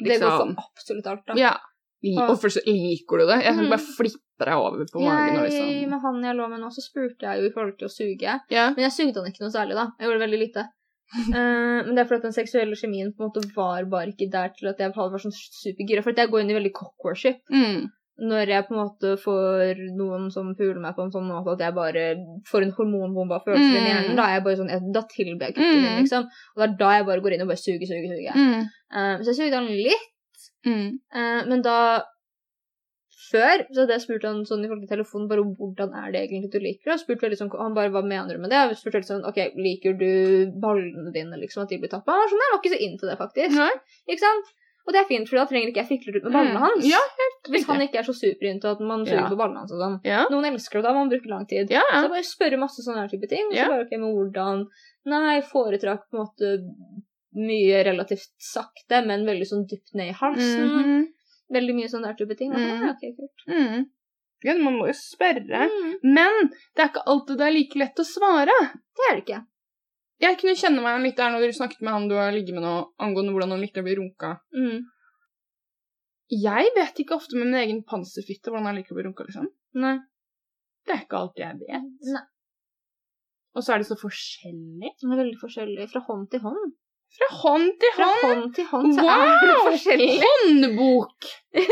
Speaker 1: Det går
Speaker 2: Liksom.
Speaker 1: for absolutt alt, da.
Speaker 2: Ja. Li-
Speaker 1: Ja.
Speaker 2: Og først så liker du det. Jeg
Speaker 1: Mm.
Speaker 2: kan bare flippe deg over på magen og
Speaker 1: Jeg,
Speaker 2: liksom
Speaker 1: med han jeg lå med nå, så spurte jeg jo i forhold til å suge.
Speaker 2: Ja.
Speaker 1: Men jeg sugde han ikke noe særlig, da. Jeg gjorde veldig
Speaker 2: <laughs>
Speaker 1: lite. Eh, men det er fordi at den seksuelle kjemien på en måte var bare ikke der til at jeg var sånn supergira. For at jeg går inn i veldig cock-worship
Speaker 2: Mm.
Speaker 1: når jeg på en måte får noen som puler meg på en sånn måte at jeg bare får en hormonbombe av følelser i
Speaker 2: Mm.
Speaker 1: hjernen. Da er jeg bare sånn, jeg, da tilber jeg kutten min,
Speaker 2: Mm.
Speaker 1: liksom. Og det er da jeg bare går inn og bare suger, suger, suger.
Speaker 2: Mm.
Speaker 1: Eh, så jeg sugde han litt.
Speaker 2: Mm.
Speaker 1: Eh, men da Før så hadde jeg spurt han sånn i forhold til telefonen bare hvordan er det egentlig du liker det. Og spurt veldig sånn, Han bare hva mener du med det? Og spurte veldig sånn OK, liker du ballene dine, liksom, at de blir tappa? Han var sånn, jeg var ikke så inn til det, faktisk.
Speaker 2: Nei.
Speaker 1: Ikke sant? Og det er fint, for da trenger ikke jeg fikle ut med ballene
Speaker 2: Mm.
Speaker 1: hans.
Speaker 2: Ja,
Speaker 1: Hvis han ikke er så super inntil at man suger
Speaker 2: Ja.
Speaker 1: på ballene hans og sånn.
Speaker 2: Ja.
Speaker 1: Noen elsker det, da man bruker lang tid.
Speaker 2: Ja, ja.
Speaker 1: Så bare spørre masse sånne her type ting. Og så
Speaker 2: Ja.
Speaker 1: bare OK, men hvordan Nei, foretrakk på en måte mye relativt sakte, men veldig sånn dypt ned i halsen.
Speaker 2: Mhm.
Speaker 1: Veldig mye sånn der type ting. Da.
Speaker 2: Mm.
Speaker 1: Ja, ok, kult.
Speaker 2: Mm. Ja, man må jo spørre.
Speaker 1: Mm.
Speaker 2: Men det er ikke alltid det er like lett å svare.
Speaker 1: Det er det ikke.
Speaker 2: Jeg kunne kjenne meg igjen litt der når du snakket med han du har ligget med nå, angående hvordan han likte å bli runka.
Speaker 1: Mm.
Speaker 2: Jeg vet ikke ofte med min egen panserfitte hvordan jeg liker å bli runka, liksom.
Speaker 1: Nei.
Speaker 2: Det er ikke alltid jeg vet.
Speaker 1: Nei.
Speaker 2: Og så er det så forskjellig.
Speaker 1: Det er veldig forskjellig fra hånd til hånd.
Speaker 2: Fra hånd til
Speaker 1: Fra
Speaker 2: hånd.
Speaker 1: hånd til hånd så
Speaker 2: Wow!
Speaker 1: er det forskjellig. <laughs>
Speaker 2: Håndbok!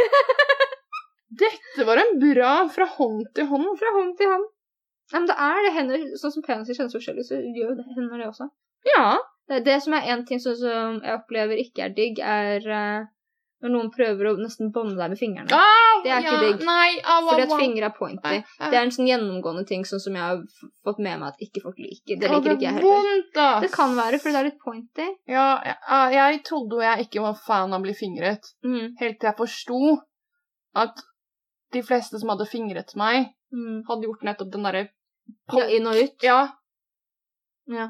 Speaker 2: Dette var en bra fra hånd til hånd.
Speaker 1: Fra hånd til hånd. Nei, men det er det hender, Sånn som peniser kjennes forskjellig, så gjør jo det hender det også.
Speaker 2: Ja.
Speaker 1: Det, det som er en ting sånn som jeg opplever ikke er digg, er eh, når noen prøver å nesten bånde deg med fingrene.
Speaker 2: Au,
Speaker 1: Det er ikke
Speaker 2: ja,
Speaker 1: digg.
Speaker 2: Nei, au, au,
Speaker 1: Fordi at
Speaker 2: au.
Speaker 1: fingre er
Speaker 2: Ah,
Speaker 1: pointy. Det er en sånn gjennomgående ting sånn som jeg har f- fått med meg at ikke folk liker. Det liker ikke jeg heller.
Speaker 2: Vondt, da.
Speaker 1: Det kan være fordi det er litt pointy.
Speaker 2: Ja, jeg, jeg trodde jo jeg ikke var fan av å bli fingret,
Speaker 1: Mm.
Speaker 2: helt til jeg forsto at de fleste som hadde fingret meg,
Speaker 1: Mm.
Speaker 2: hadde gjort nettopp den derre
Speaker 1: Ja, inn og ut.
Speaker 2: Ja.
Speaker 1: Ja.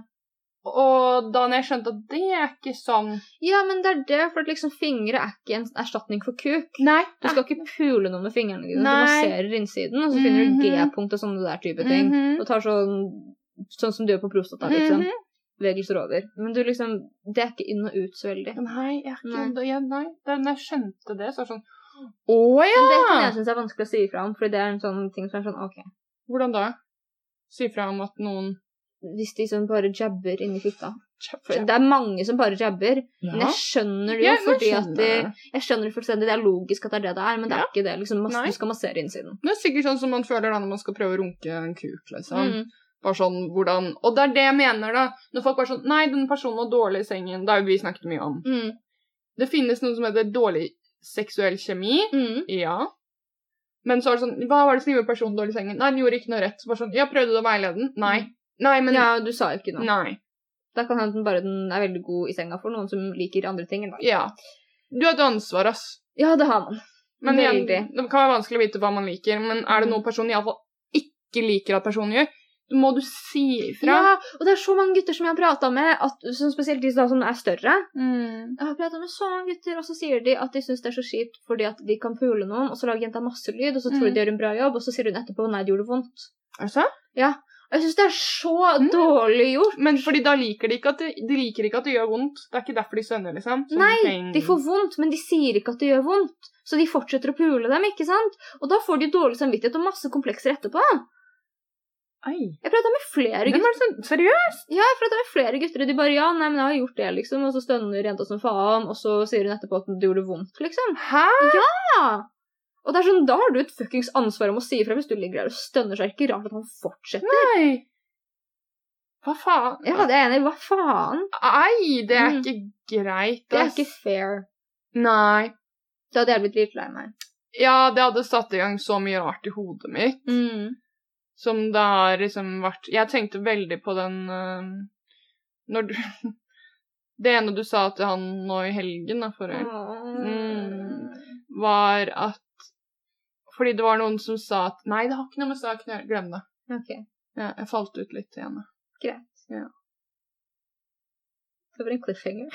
Speaker 2: Og da når jeg skjønte at det er ikke sånn
Speaker 1: Ja, men det er det, for at liksom fingre er ikke en erstatning for kuk.
Speaker 2: Nei.
Speaker 1: Du skal ikke pule noe med fingrene dine.
Speaker 2: Nei.
Speaker 1: Du masserer innsiden, og så finner du
Speaker 2: Mhm.
Speaker 1: G-punkt og sånne der type ting.
Speaker 2: Mhm.
Speaker 1: Og tar sånn, sånn som du gjør på prostata, liksom.
Speaker 2: Mhm.
Speaker 1: Bevegelser over. Men du liksom, det er ikke inn og ut så veldig.
Speaker 2: Nei, jeg er
Speaker 1: Nei.
Speaker 2: ikke da- ja, Nei. Da når jeg skjønte det, så var det sånn Å ja!
Speaker 1: Men det kan jeg synes er vanskelig å si ifra om, for det er en sånn ting som er sånn, ok.
Speaker 2: Hvordan da? Si fra om at noen
Speaker 1: Hvis de sånn bare jabber inni fitta. For det er mange som bare jabber.
Speaker 2: Ja.
Speaker 1: Men jeg skjønner det jo,
Speaker 2: Ja, nå
Speaker 1: fordi
Speaker 2: skjønner
Speaker 1: at de,
Speaker 2: jeg det.
Speaker 1: jeg skjønner det fullstendig. Det er logisk at det er det det er, men det er
Speaker 2: Ja.
Speaker 1: ikke det. Liksom, mas-
Speaker 2: Nei.
Speaker 1: du skal massere innsiden.
Speaker 2: Det er sikkert sånn som man føler da når man skal prøve å runke en kuk, liksom.
Speaker 1: Mm.
Speaker 2: Bare sånn hvordan Og det er det jeg mener, da. Når folk bare sånn Nei, den personen var dårlig i sengen. Det har jo vi snakket mye om.
Speaker 1: Mm.
Speaker 2: Det finnes noe som heter dårlig seksuell kjemi.
Speaker 1: Mm.
Speaker 2: Ja. Men så er det sånn Hva var det som gjorde personen dårlig i sengen? Nei, den gjorde ikke noe rett. Så bare sånn Ja, prøvde du å veilede den? Nei. Nei, men
Speaker 1: ja, du sa jo ikke noe.
Speaker 2: Nei.
Speaker 1: Da kan hende den bare den er veldig god i senga for noen som liker andre ting enn meg.
Speaker 2: Ja. Du har et ansvar, ass.
Speaker 1: Ja, det har man.
Speaker 2: Men igjen,
Speaker 1: Veldig. Mm.
Speaker 2: det kan være vanskelig å vite hva man liker, men er det noe personen iallfall ikke liker at personen gjør, så må du si ifra.
Speaker 1: Ja, og det er så mange gutter som jeg har prata med, at, som spesielt de da som er større.
Speaker 2: Mm.
Speaker 1: Jeg har prata med så mange gutter, og så sier de at de syns det er så kjipt fordi at de kan pule noen, og så lager jenta masse lyd, og så tror de
Speaker 2: Mm.
Speaker 1: de gjør en bra jobb, og så sier hun etterpå 'nei, det gjorde vondt'.
Speaker 2: Er det sant?
Speaker 1: Og Jeg syns det er så
Speaker 2: Mm.
Speaker 1: dårlig gjort.
Speaker 2: Men fordi da liker de ikke at det, de liker ikke at det gjør vondt. Det er ikke derfor de stønner, liksom. Sånne
Speaker 1: Nei,
Speaker 2: ting.
Speaker 1: De får vondt, men de sier ikke at det gjør vondt. Så de fortsetter å pule dem, ikke sant? Og da får de dårlig samvittighet og masse komplekser etterpå.
Speaker 2: Ei.
Speaker 1: Jeg prata med flere
Speaker 2: Hvem
Speaker 1: gutter,
Speaker 2: er det som Seriøst?
Speaker 1: ja, jeg pratet med flere gutter, og de bare ja, nei, men jeg har gjort det, liksom. Og så stønner jenta som faen, og så sier hun etterpå at det gjorde vondt, liksom.
Speaker 2: Hæ?
Speaker 1: Ja. Og det er sånn, da har du et fuckings ansvar om å si ifra hvis du ligger der og stønner, så er det ikke rart at han fortsetter.
Speaker 2: Nei. Hva faen?
Speaker 1: Ja, det er jeg enig i. Hva faen?
Speaker 2: Ei, det er
Speaker 1: Mm.
Speaker 2: ikke greit,
Speaker 1: Det er
Speaker 2: ass.
Speaker 1: ikke fair.
Speaker 2: Nei.
Speaker 1: Da hadde jeg blitt litt lei meg.
Speaker 2: Ja, det hadde satt i gang så mye rart i hodet mitt.
Speaker 1: Mm.
Speaker 2: Som det har liksom vært Jeg tenkte veldig på den eh, Når du <laughs> Det ene du sa til han nå i helgen, da, forrige helg, Mm. var at Fordi det var noen som sa at Nei, det har ikke noe med saken å gjøre. Glem det.
Speaker 1: Ok.
Speaker 2: Ja, jeg falt ut litt igjen. da.
Speaker 1: Det var en cliffhanger.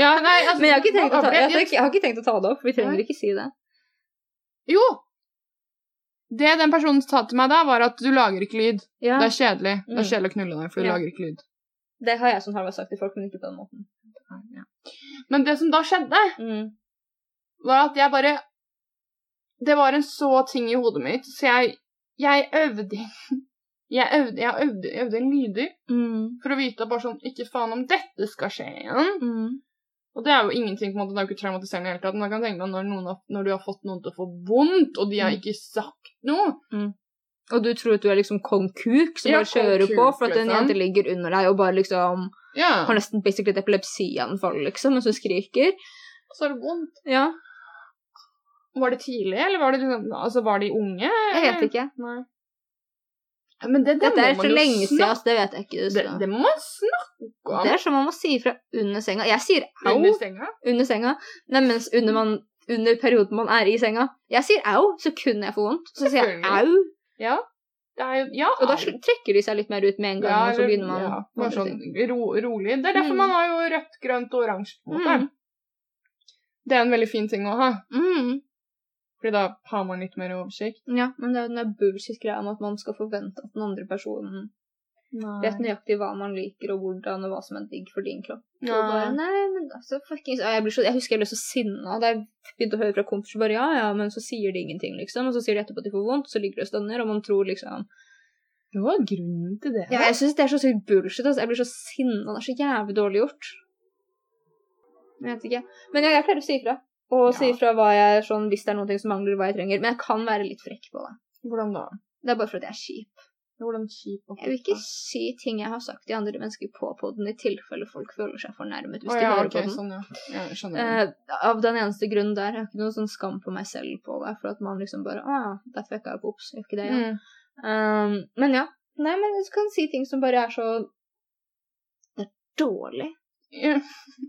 Speaker 2: Ja, nei, altså,
Speaker 1: Men jeg har ikke tenkt å ta, jeg har
Speaker 2: Jeg-
Speaker 1: ikke, jeg har ikke tenkt å ta det opp. Vi trenger ikke si det.
Speaker 2: Jo! Det den personen sa til meg da, var at du lager ikke lyd.
Speaker 1: Ja,
Speaker 2: Det er kjedelig. Det er
Speaker 1: Mm.
Speaker 2: kjedelig å knulle deg, for du
Speaker 1: Ja.
Speaker 2: lager ikke lyd.
Speaker 1: Det har jeg som har sagt til folk, men ikke på den måten. Mm.
Speaker 2: Ja. Men det som da skjedde, var at jeg bare Det var en så ting i hodet mitt, så jeg, jeg øvde <laughs> Jeg øvde, jeg øvde, jeg øvde en lyder
Speaker 1: Mm.
Speaker 2: for å vite at bare sånn Ikke faen om dette skal skje igjen.
Speaker 1: Mm.
Speaker 2: Og det er jo ingenting, på en måte, det er jo ikke traumatiserende i det hele tatt, men jeg kan tenke meg når, noen har, når du har fått noen til å få vondt, og de har
Speaker 1: Mm.
Speaker 2: ikke sagt noe
Speaker 1: Og du tror at du er liksom kong kuk som
Speaker 2: Ja,
Speaker 1: bare kjører
Speaker 2: kong
Speaker 1: på
Speaker 2: kuk,
Speaker 1: for at en
Speaker 2: liksom.
Speaker 1: jente ligger under deg og bare liksom
Speaker 2: Ja.
Speaker 1: har nesten basically et epilepsianfall, liksom, mens hun skriker.
Speaker 2: Så er det vondt.
Speaker 1: Ja,
Speaker 2: Var det tidlig, eller var det liksom Altså, var de unge?
Speaker 1: jeg vet ikke.
Speaker 2: Nei. Men det, det
Speaker 1: Dette er
Speaker 2: må
Speaker 1: så
Speaker 2: man jo
Speaker 1: lenge siden,
Speaker 2: snakke
Speaker 1: altså, det vet jeg ikke.
Speaker 2: Det,
Speaker 1: så.
Speaker 2: det må man snakke om.
Speaker 1: Det er som man må si fra under senga. Jeg sier au
Speaker 2: Under senga.
Speaker 1: under senga. Nei, mens under, man, under perioden man er i senga. Jeg sier au, så kunne jeg få vondt. Så sier jeg
Speaker 2: Selvfølgelig.
Speaker 1: au,
Speaker 2: Ja. Det er jo Ja.
Speaker 1: Og da sl- trekker de seg litt mer ut med en gang, og så
Speaker 2: eller-
Speaker 1: begynner man
Speaker 2: ja,
Speaker 1: med
Speaker 2: bare
Speaker 1: andre
Speaker 2: sånn
Speaker 1: ting.
Speaker 2: ro, rolig. Det er derfor
Speaker 1: Mm.
Speaker 2: man har jo rødt, grønt og oransje. på en måte.
Speaker 1: Mm.
Speaker 2: Det er en veldig fin ting å ha,
Speaker 1: Mm.
Speaker 2: fordi da har man litt mer oversikt.
Speaker 1: Ja, men det er jo den der bullshit-greia om at man skal forvente at den andre personen vet
Speaker 2: Vet
Speaker 1: nøyaktig hva man liker, og hvordan, og hva som er digg for din kropp.
Speaker 2: du-
Speaker 1: Og bare, nei, men altså, fuckings Å, jeg, blir så, jeg husker jeg ble så sinna da jeg begynte å høre fra kompiser bare ja, ja, men så sier de ingenting, liksom. Og så sier de etterpå at de får vondt, så ligger de og stønner, og man tror liksom
Speaker 2: Det var grunnen til det.
Speaker 1: Ja, jeg syns det er så sykt bullshit, altså. Jeg blir så sinna. Det er så jævlig dårlig gjort. Jeg vet ikke. Men ja, jeg pleier å si ifra. Og si
Speaker 2: Ja.
Speaker 1: ifra hva jeg sånn, hvis det er noe som mangler, hva jeg trenger. Men jeg kan være litt frekk på det.
Speaker 2: Hvordan da?
Speaker 1: Det er bare fordi jeg er kjip.
Speaker 2: Hvordan kjip og
Speaker 1: Jeg vil ikke si ting jeg har sagt til andre mennesker på poden, i tilfelle folk føler seg fornærmet hvis
Speaker 2: Å,
Speaker 1: de
Speaker 2: ja,
Speaker 1: hører på
Speaker 2: ok,
Speaker 1: den.
Speaker 2: sånn, ja. ja. jeg Skjønner.
Speaker 1: Eh, av den eneste grunnen der. Jeg har ikke noe sånn skam på meg selv på det. For at man liksom bare Å ja, der fucka jeg opp. Ops. Gjør ikke det, ja.
Speaker 2: Mm.
Speaker 1: Um, men ja. Nei, men du kan si ting som bare er så Det er dårlig.
Speaker 2: Ja.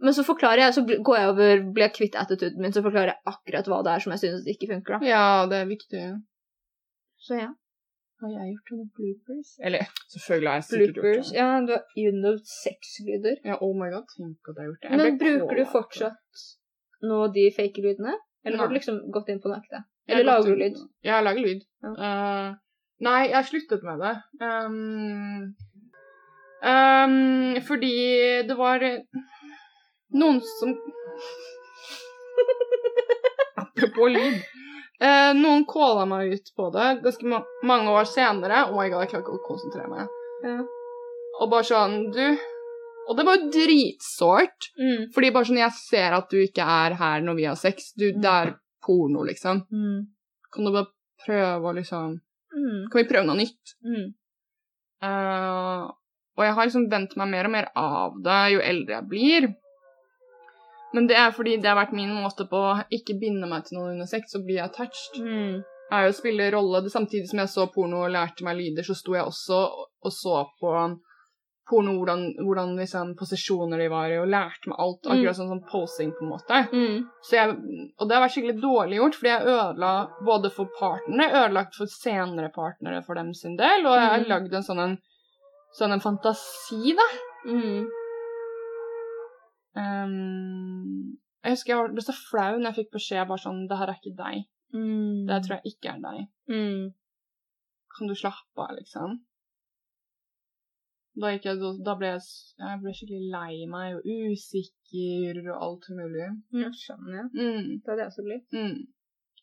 Speaker 1: Men så forklarer jeg, så bl- går jeg over, blir jeg kvitt attituden min, så forklarer jeg akkurat hva det er som jeg synes ikke funker, da.
Speaker 2: ja, det er viktig.
Speaker 1: Så ja.
Speaker 2: Har jeg gjort noen bloopers? Eller selvfølgelig har jeg sikkert
Speaker 1: Bloopers.
Speaker 2: gjort det.
Speaker 1: Ja, du har unøvd sexlyder.
Speaker 2: Ja, oh my god, tenk at jeg har gjort det. Jeg
Speaker 1: Men
Speaker 2: ble
Speaker 1: bruker du
Speaker 2: kålet.
Speaker 1: fortsatt nå de fake lydene? Eller har
Speaker 2: Nei.
Speaker 1: du liksom gått inn på den ekte?
Speaker 2: Jeg
Speaker 1: Eller
Speaker 2: har gått
Speaker 1: lager du
Speaker 2: inn-
Speaker 1: lyd?
Speaker 2: Ja, jeg lager lyd.
Speaker 1: Ja.
Speaker 2: Eh, nei, jeg har sluttet med det. Ehm, ehm, fordi det var eh, noen som <laughs> Apropos lyd. Eh, noen calla meg ut på det ganske ma mange år senere. Oh my god, jeg klarer ikke å konsentrere meg.
Speaker 1: Ja.
Speaker 2: Og bare sånn, du Og det var jo dritsårt.
Speaker 1: Mm.
Speaker 2: Fordi bare sånn, jeg ser at du ikke er her når vi har sex. Du, det er porno, liksom.
Speaker 1: Mm.
Speaker 2: Kan du bare prøve å liksom
Speaker 1: Mm.
Speaker 2: Kan vi prøve noe nytt?
Speaker 1: Mm.
Speaker 2: Eh, og jeg har liksom vent meg mer og mer av det jo eldre jeg blir. Men det er fordi det har vært min måte på å ikke binde meg til noen under sex, så blir jeg touched.
Speaker 1: Mm.
Speaker 2: er jo å spille rolle. Det Samtidig som jeg så porno og lærte meg lyder, så sto jeg også og så på porno, hvordan, hvordan liksom, posisjoner de var i, og lærte meg alt. Akkurat sånn, sånn posing, på en måte.
Speaker 1: Mm.
Speaker 2: Så jeg, og det har vært skikkelig dårlig gjort, fordi jeg ødela både for partnere, ødelagt for senere partnere for dem sin del, og jeg har
Speaker 1: Mhm.
Speaker 2: lagd en sånn en, sånn en fantasi, da.
Speaker 1: Mm.
Speaker 2: Ehm, jeg husker jeg var- ble så flau når jeg fikk beskjed bare sånn Det her er ikke deg.
Speaker 1: Mm.
Speaker 2: Det her tror jeg ikke er deg.
Speaker 1: Mm.
Speaker 2: Kan du slappe av, liksom? Da, gikk jeg, da ble jeg, s- jeg ble skikkelig lei meg og usikker og alt mulig.
Speaker 1: Ja, skjønner jeg.
Speaker 2: Mm.
Speaker 1: Det hadde jeg også blitt.
Speaker 2: Mm.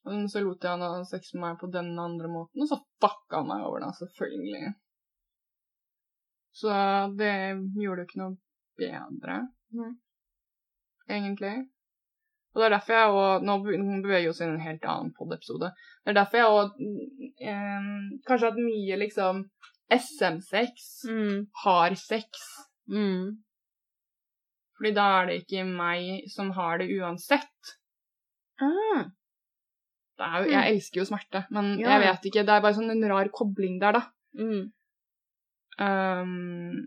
Speaker 2: Men så lot jeg han ha sex med meg på den andre måten, og så fucka han meg over da, selvfølgelig. Så det gjorde jo ikke noe bedre,
Speaker 1: Nei.
Speaker 2: egentlig. Og det er derfor jeg òg Nå be- nå beveger vi oss inn i en helt annen podiepisode. Det er derfor jeg òg eh, kanskje har hatt mye liksom SM-sex,
Speaker 1: Mm.
Speaker 2: har sex.
Speaker 1: Mm.
Speaker 2: Fordi da er det ikke meg som har det uansett.
Speaker 1: Ah.
Speaker 2: det er jo,
Speaker 1: Mm.
Speaker 2: jeg elsker jo smerte, men
Speaker 1: Ja.
Speaker 2: jeg vet ikke. Det er bare sånn en rar kobling der, da.
Speaker 1: Mm.
Speaker 2: Ehm,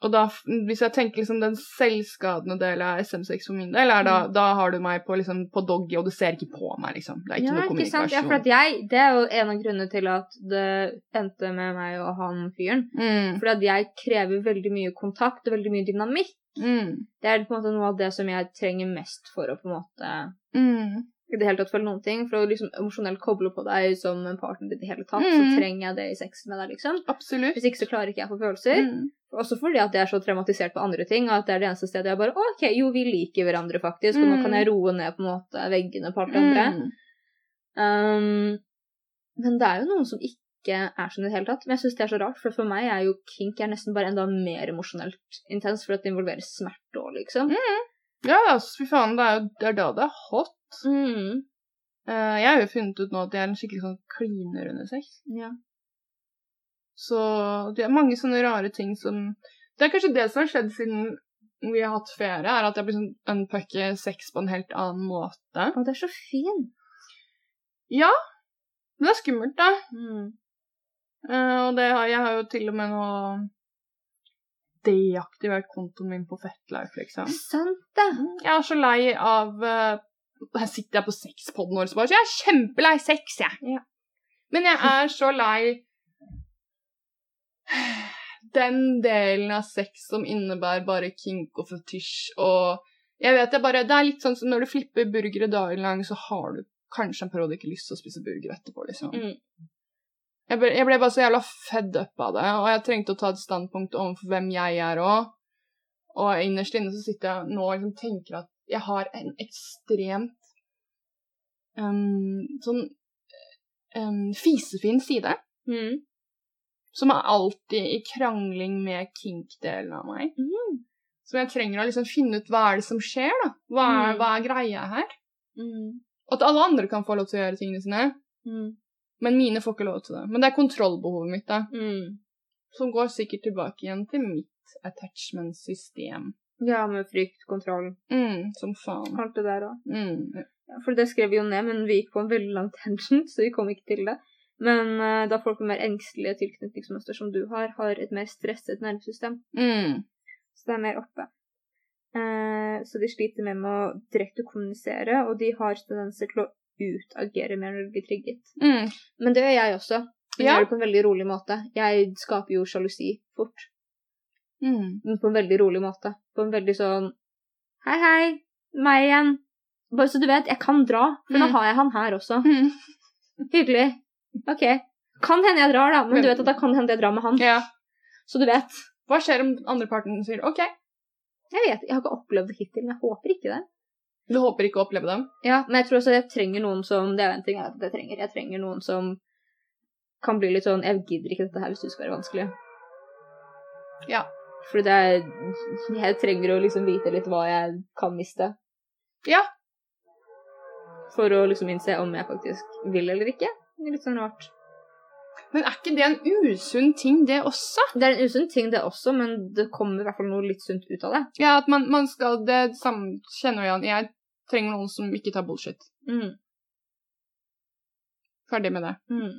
Speaker 2: og da, f- hvis jeg tenker liksom den selvskadende delen av SM6 for min del, er da,
Speaker 1: Mm.
Speaker 2: da har du meg på, liksom, på doggy, og du ser ikke på meg, liksom. Det er ikke
Speaker 1: ja,
Speaker 2: noe
Speaker 1: ikke sant? Ja,
Speaker 2: kommunikasjon.
Speaker 1: for at jeg, det er jo en av grunnene til at det endte med meg og han fyren.
Speaker 2: mm,
Speaker 1: Fordi at jeg krever veldig mye kontakt og veldig mye dynamikk.
Speaker 2: mm,
Speaker 1: Det er på en måte noe av det som jeg trenger mest for å på en måte
Speaker 2: mm,
Speaker 1: i det hele tatt føle noen ting. For å liksom emosjonelt koble på deg som en partner i det hele tatt,
Speaker 2: Mm.
Speaker 1: så trenger jeg det i sex med deg, liksom.
Speaker 2: absolutt.
Speaker 1: Hvis ikke så klarer ikke jeg å få følelser.
Speaker 2: Mm,
Speaker 1: Også fordi at jeg er så traumatisert på andre ting, at det er det eneste stedet jeg bare OK, jo, vi liker hverandre faktisk, og nå
Speaker 2: Mm.
Speaker 1: kan jeg roe ned på en måte veggene på alt det andre.
Speaker 2: mm,
Speaker 1: Um, men det er jo noen som ikke er sånn i det hele tatt. Men jeg syns det er så rart, for for meg er jo kink er nesten bare enda mer emosjonelt intens, for at det involverer smerte òg, liksom.
Speaker 2: Ja, altså, fy faen, det er jo det er da det er hot.
Speaker 1: Mm.
Speaker 2: Eh, jeg har jo funnet ut nå at jeg er en skikkelig sånn kliner under sex.
Speaker 1: Ja.
Speaker 2: Så det er mange sånne rare ting som Det er kanskje det som har skjedd siden vi har hatt ferie, er at jeg blir sånn unpucker sex på en helt annen måte.
Speaker 1: Og det er så fint.
Speaker 2: Men det er skummelt, da.
Speaker 1: Mm.
Speaker 2: Eh, og det har, jeg har jo til og med nå deaktivert kontoen min på Fetlife, liksom.
Speaker 1: Sant det!
Speaker 2: Jeg er så lei av eh, Her sitter jeg på sexpodden vår og bare så Jeg er kjempelei sex, jeg.
Speaker 1: Ja.
Speaker 2: Men jeg er så lei den delen av sex som innebærer bare kink og fetisj og Jeg vet det bare Det er litt sånn som når du flipper burgere dagen lang, så har du kanskje en periode ikke lyst til å spise burger etterpå, liksom.
Speaker 1: Mm.
Speaker 2: Jeg ble, jeg ble bare så jævla fed up av det, og jeg trengte å ta et standpunkt overfor hvem jeg er òg. Og innerst inne så sitter jeg nå og liksom tenker at jeg har en ekstremt um, sånn um, fisefin side,
Speaker 1: Mm.
Speaker 2: som er alltid i krangling med kink-delen av meg.
Speaker 1: Mm.
Speaker 2: Som jeg trenger å liksom finne ut hva er det som skjer, da. Hva er,
Speaker 1: Mm.
Speaker 2: hva er greia her?
Speaker 1: Mm.
Speaker 2: At alle andre kan få lov til å gjøre tingene sine,
Speaker 1: Mm.
Speaker 2: men mine får ikke lov til det. Men det er kontrollbehovet mitt, da.
Speaker 1: Mm.
Speaker 2: som går sikkert tilbake igjen til mitt attachment-system.
Speaker 1: Ja, med frykt, kontroll,
Speaker 2: Mm, som faen.
Speaker 1: alt det der òg.
Speaker 2: Mm.
Speaker 1: For det skrev vi jo ned, men vi gikk på en veldig lang tangent, så vi kom ikke til det. Men eh, da folk med mer engstelige tilknytningsmønster som du har, har et mer stresset nervesystem,
Speaker 2: Mm.
Speaker 1: Så det er mer oppe. Eh, så de sliter mer med å direkte kommunisere, og de har tendenser til å utagere mer når de blir trigget.
Speaker 2: Mm.
Speaker 1: Men det gjør jeg også. Men jeg
Speaker 2: Ja.
Speaker 1: gjør det på en veldig rolig måte. Jeg skaper jo sjalusi fort. <laughs>
Speaker 2: Mm.
Speaker 1: Men på en veldig rolig måte. På en veldig sånn Hei, hei. Meg igjen. Bare så du vet, jeg kan dra, for nå
Speaker 2: Mm.
Speaker 1: har jeg han her også.
Speaker 2: Mm.
Speaker 1: Hyggelig. OK. Kan hende jeg drar, da, men
Speaker 2: Men-
Speaker 1: du vet at det kan hende jeg drar med han.
Speaker 2: Ja.
Speaker 1: Så du vet.
Speaker 2: Hva skjer om den andre parten sier OK?
Speaker 1: Jeg vet, jeg har ikke opplevd det hittil, men jeg håper ikke det.
Speaker 2: Du håper ikke å oppleve dem?
Speaker 1: Ja, Men jeg tror også jeg trenger noen som Det er jo en ting jeg vet at jeg trenger. Jeg trenger noen som kan bli litt sånn Jeg gidder ikke dette her hvis du skal være vanskelig.
Speaker 2: Ja.
Speaker 1: Fordi det er Jeg trenger å liksom vite litt hva jeg kan miste.
Speaker 2: Ja.
Speaker 1: For å liksom innse om jeg faktisk vil eller ikke. Det er litt sånn rart.
Speaker 2: Men er ikke det en usunn ting, det også?
Speaker 1: Det er en usunn ting, det også, men det kommer i hvert fall noe litt sunt ut av det.
Speaker 2: Ja, at man, man skal Det samme kjenner jeg igjen. Jeg trenger noen som ikke tar bullshit.
Speaker 1: Mm.
Speaker 2: Ferdig med det.
Speaker 1: Mm.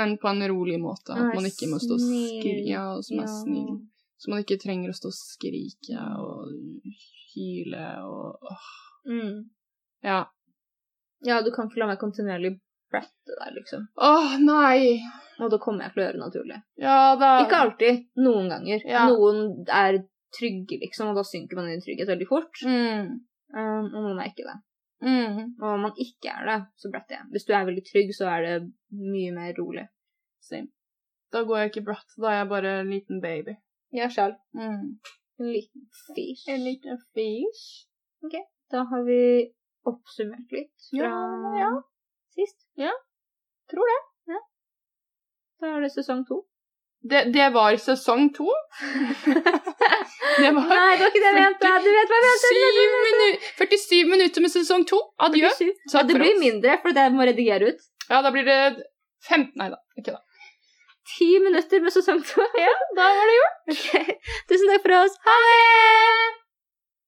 Speaker 2: Men på en rolig måte.
Speaker 1: Som
Speaker 2: At
Speaker 1: er
Speaker 2: man ikke må stå og
Speaker 1: snill.
Speaker 2: skrike. Ja, og som er
Speaker 1: Ja.
Speaker 2: snill. Så man ikke trenger å stå og skrike og hyle og åh.
Speaker 1: Mm.
Speaker 2: Ja.
Speaker 1: Ja, du kan ikke la meg kontinuerlig bratte der, liksom.
Speaker 2: Åh, nei!
Speaker 1: Og da kommer jeg til å gjøre det naturlig.
Speaker 2: Ja da
Speaker 1: Ikke alltid. Noen ganger.
Speaker 2: Ja.
Speaker 1: Noen er trygge, liksom, og da synker man i trygghet veldig fort.
Speaker 2: Mm.
Speaker 1: Um, og noen er ikke det.
Speaker 2: Mm.
Speaker 1: Og om man ikke er det, så bratter jeg. Hvis du er veldig trygg, så er det mye mer rolig.
Speaker 2: Same. Da går jeg ikke bratt. Da er jeg bare en liten baby.
Speaker 1: Jeg sjøl.
Speaker 2: Mm.
Speaker 1: En liten fish.
Speaker 2: En liten fish.
Speaker 1: Da har vi oppsummert litt fra
Speaker 2: Ja, ja.
Speaker 1: sist.
Speaker 2: Ja.
Speaker 1: Tror det. Ja. Da er det sesong to.
Speaker 2: Det, det var sesong to. det var
Speaker 1: Nei, det var ikke det jeg mente! Du vet hva jeg mente!
Speaker 2: syv minu 47 minutter med sesong to. Adjø.
Speaker 1: Ja,
Speaker 2: Takk
Speaker 1: det
Speaker 2: for
Speaker 1: blir
Speaker 2: oss.
Speaker 1: mindre, for det jeg må redigere ut.
Speaker 2: Ja, da blir det 15 Nei da, ikke da.
Speaker 1: Ti minutter med sesong to.
Speaker 2: Da var det gjort.
Speaker 1: Ok. Tusen takk for oss. Ha det!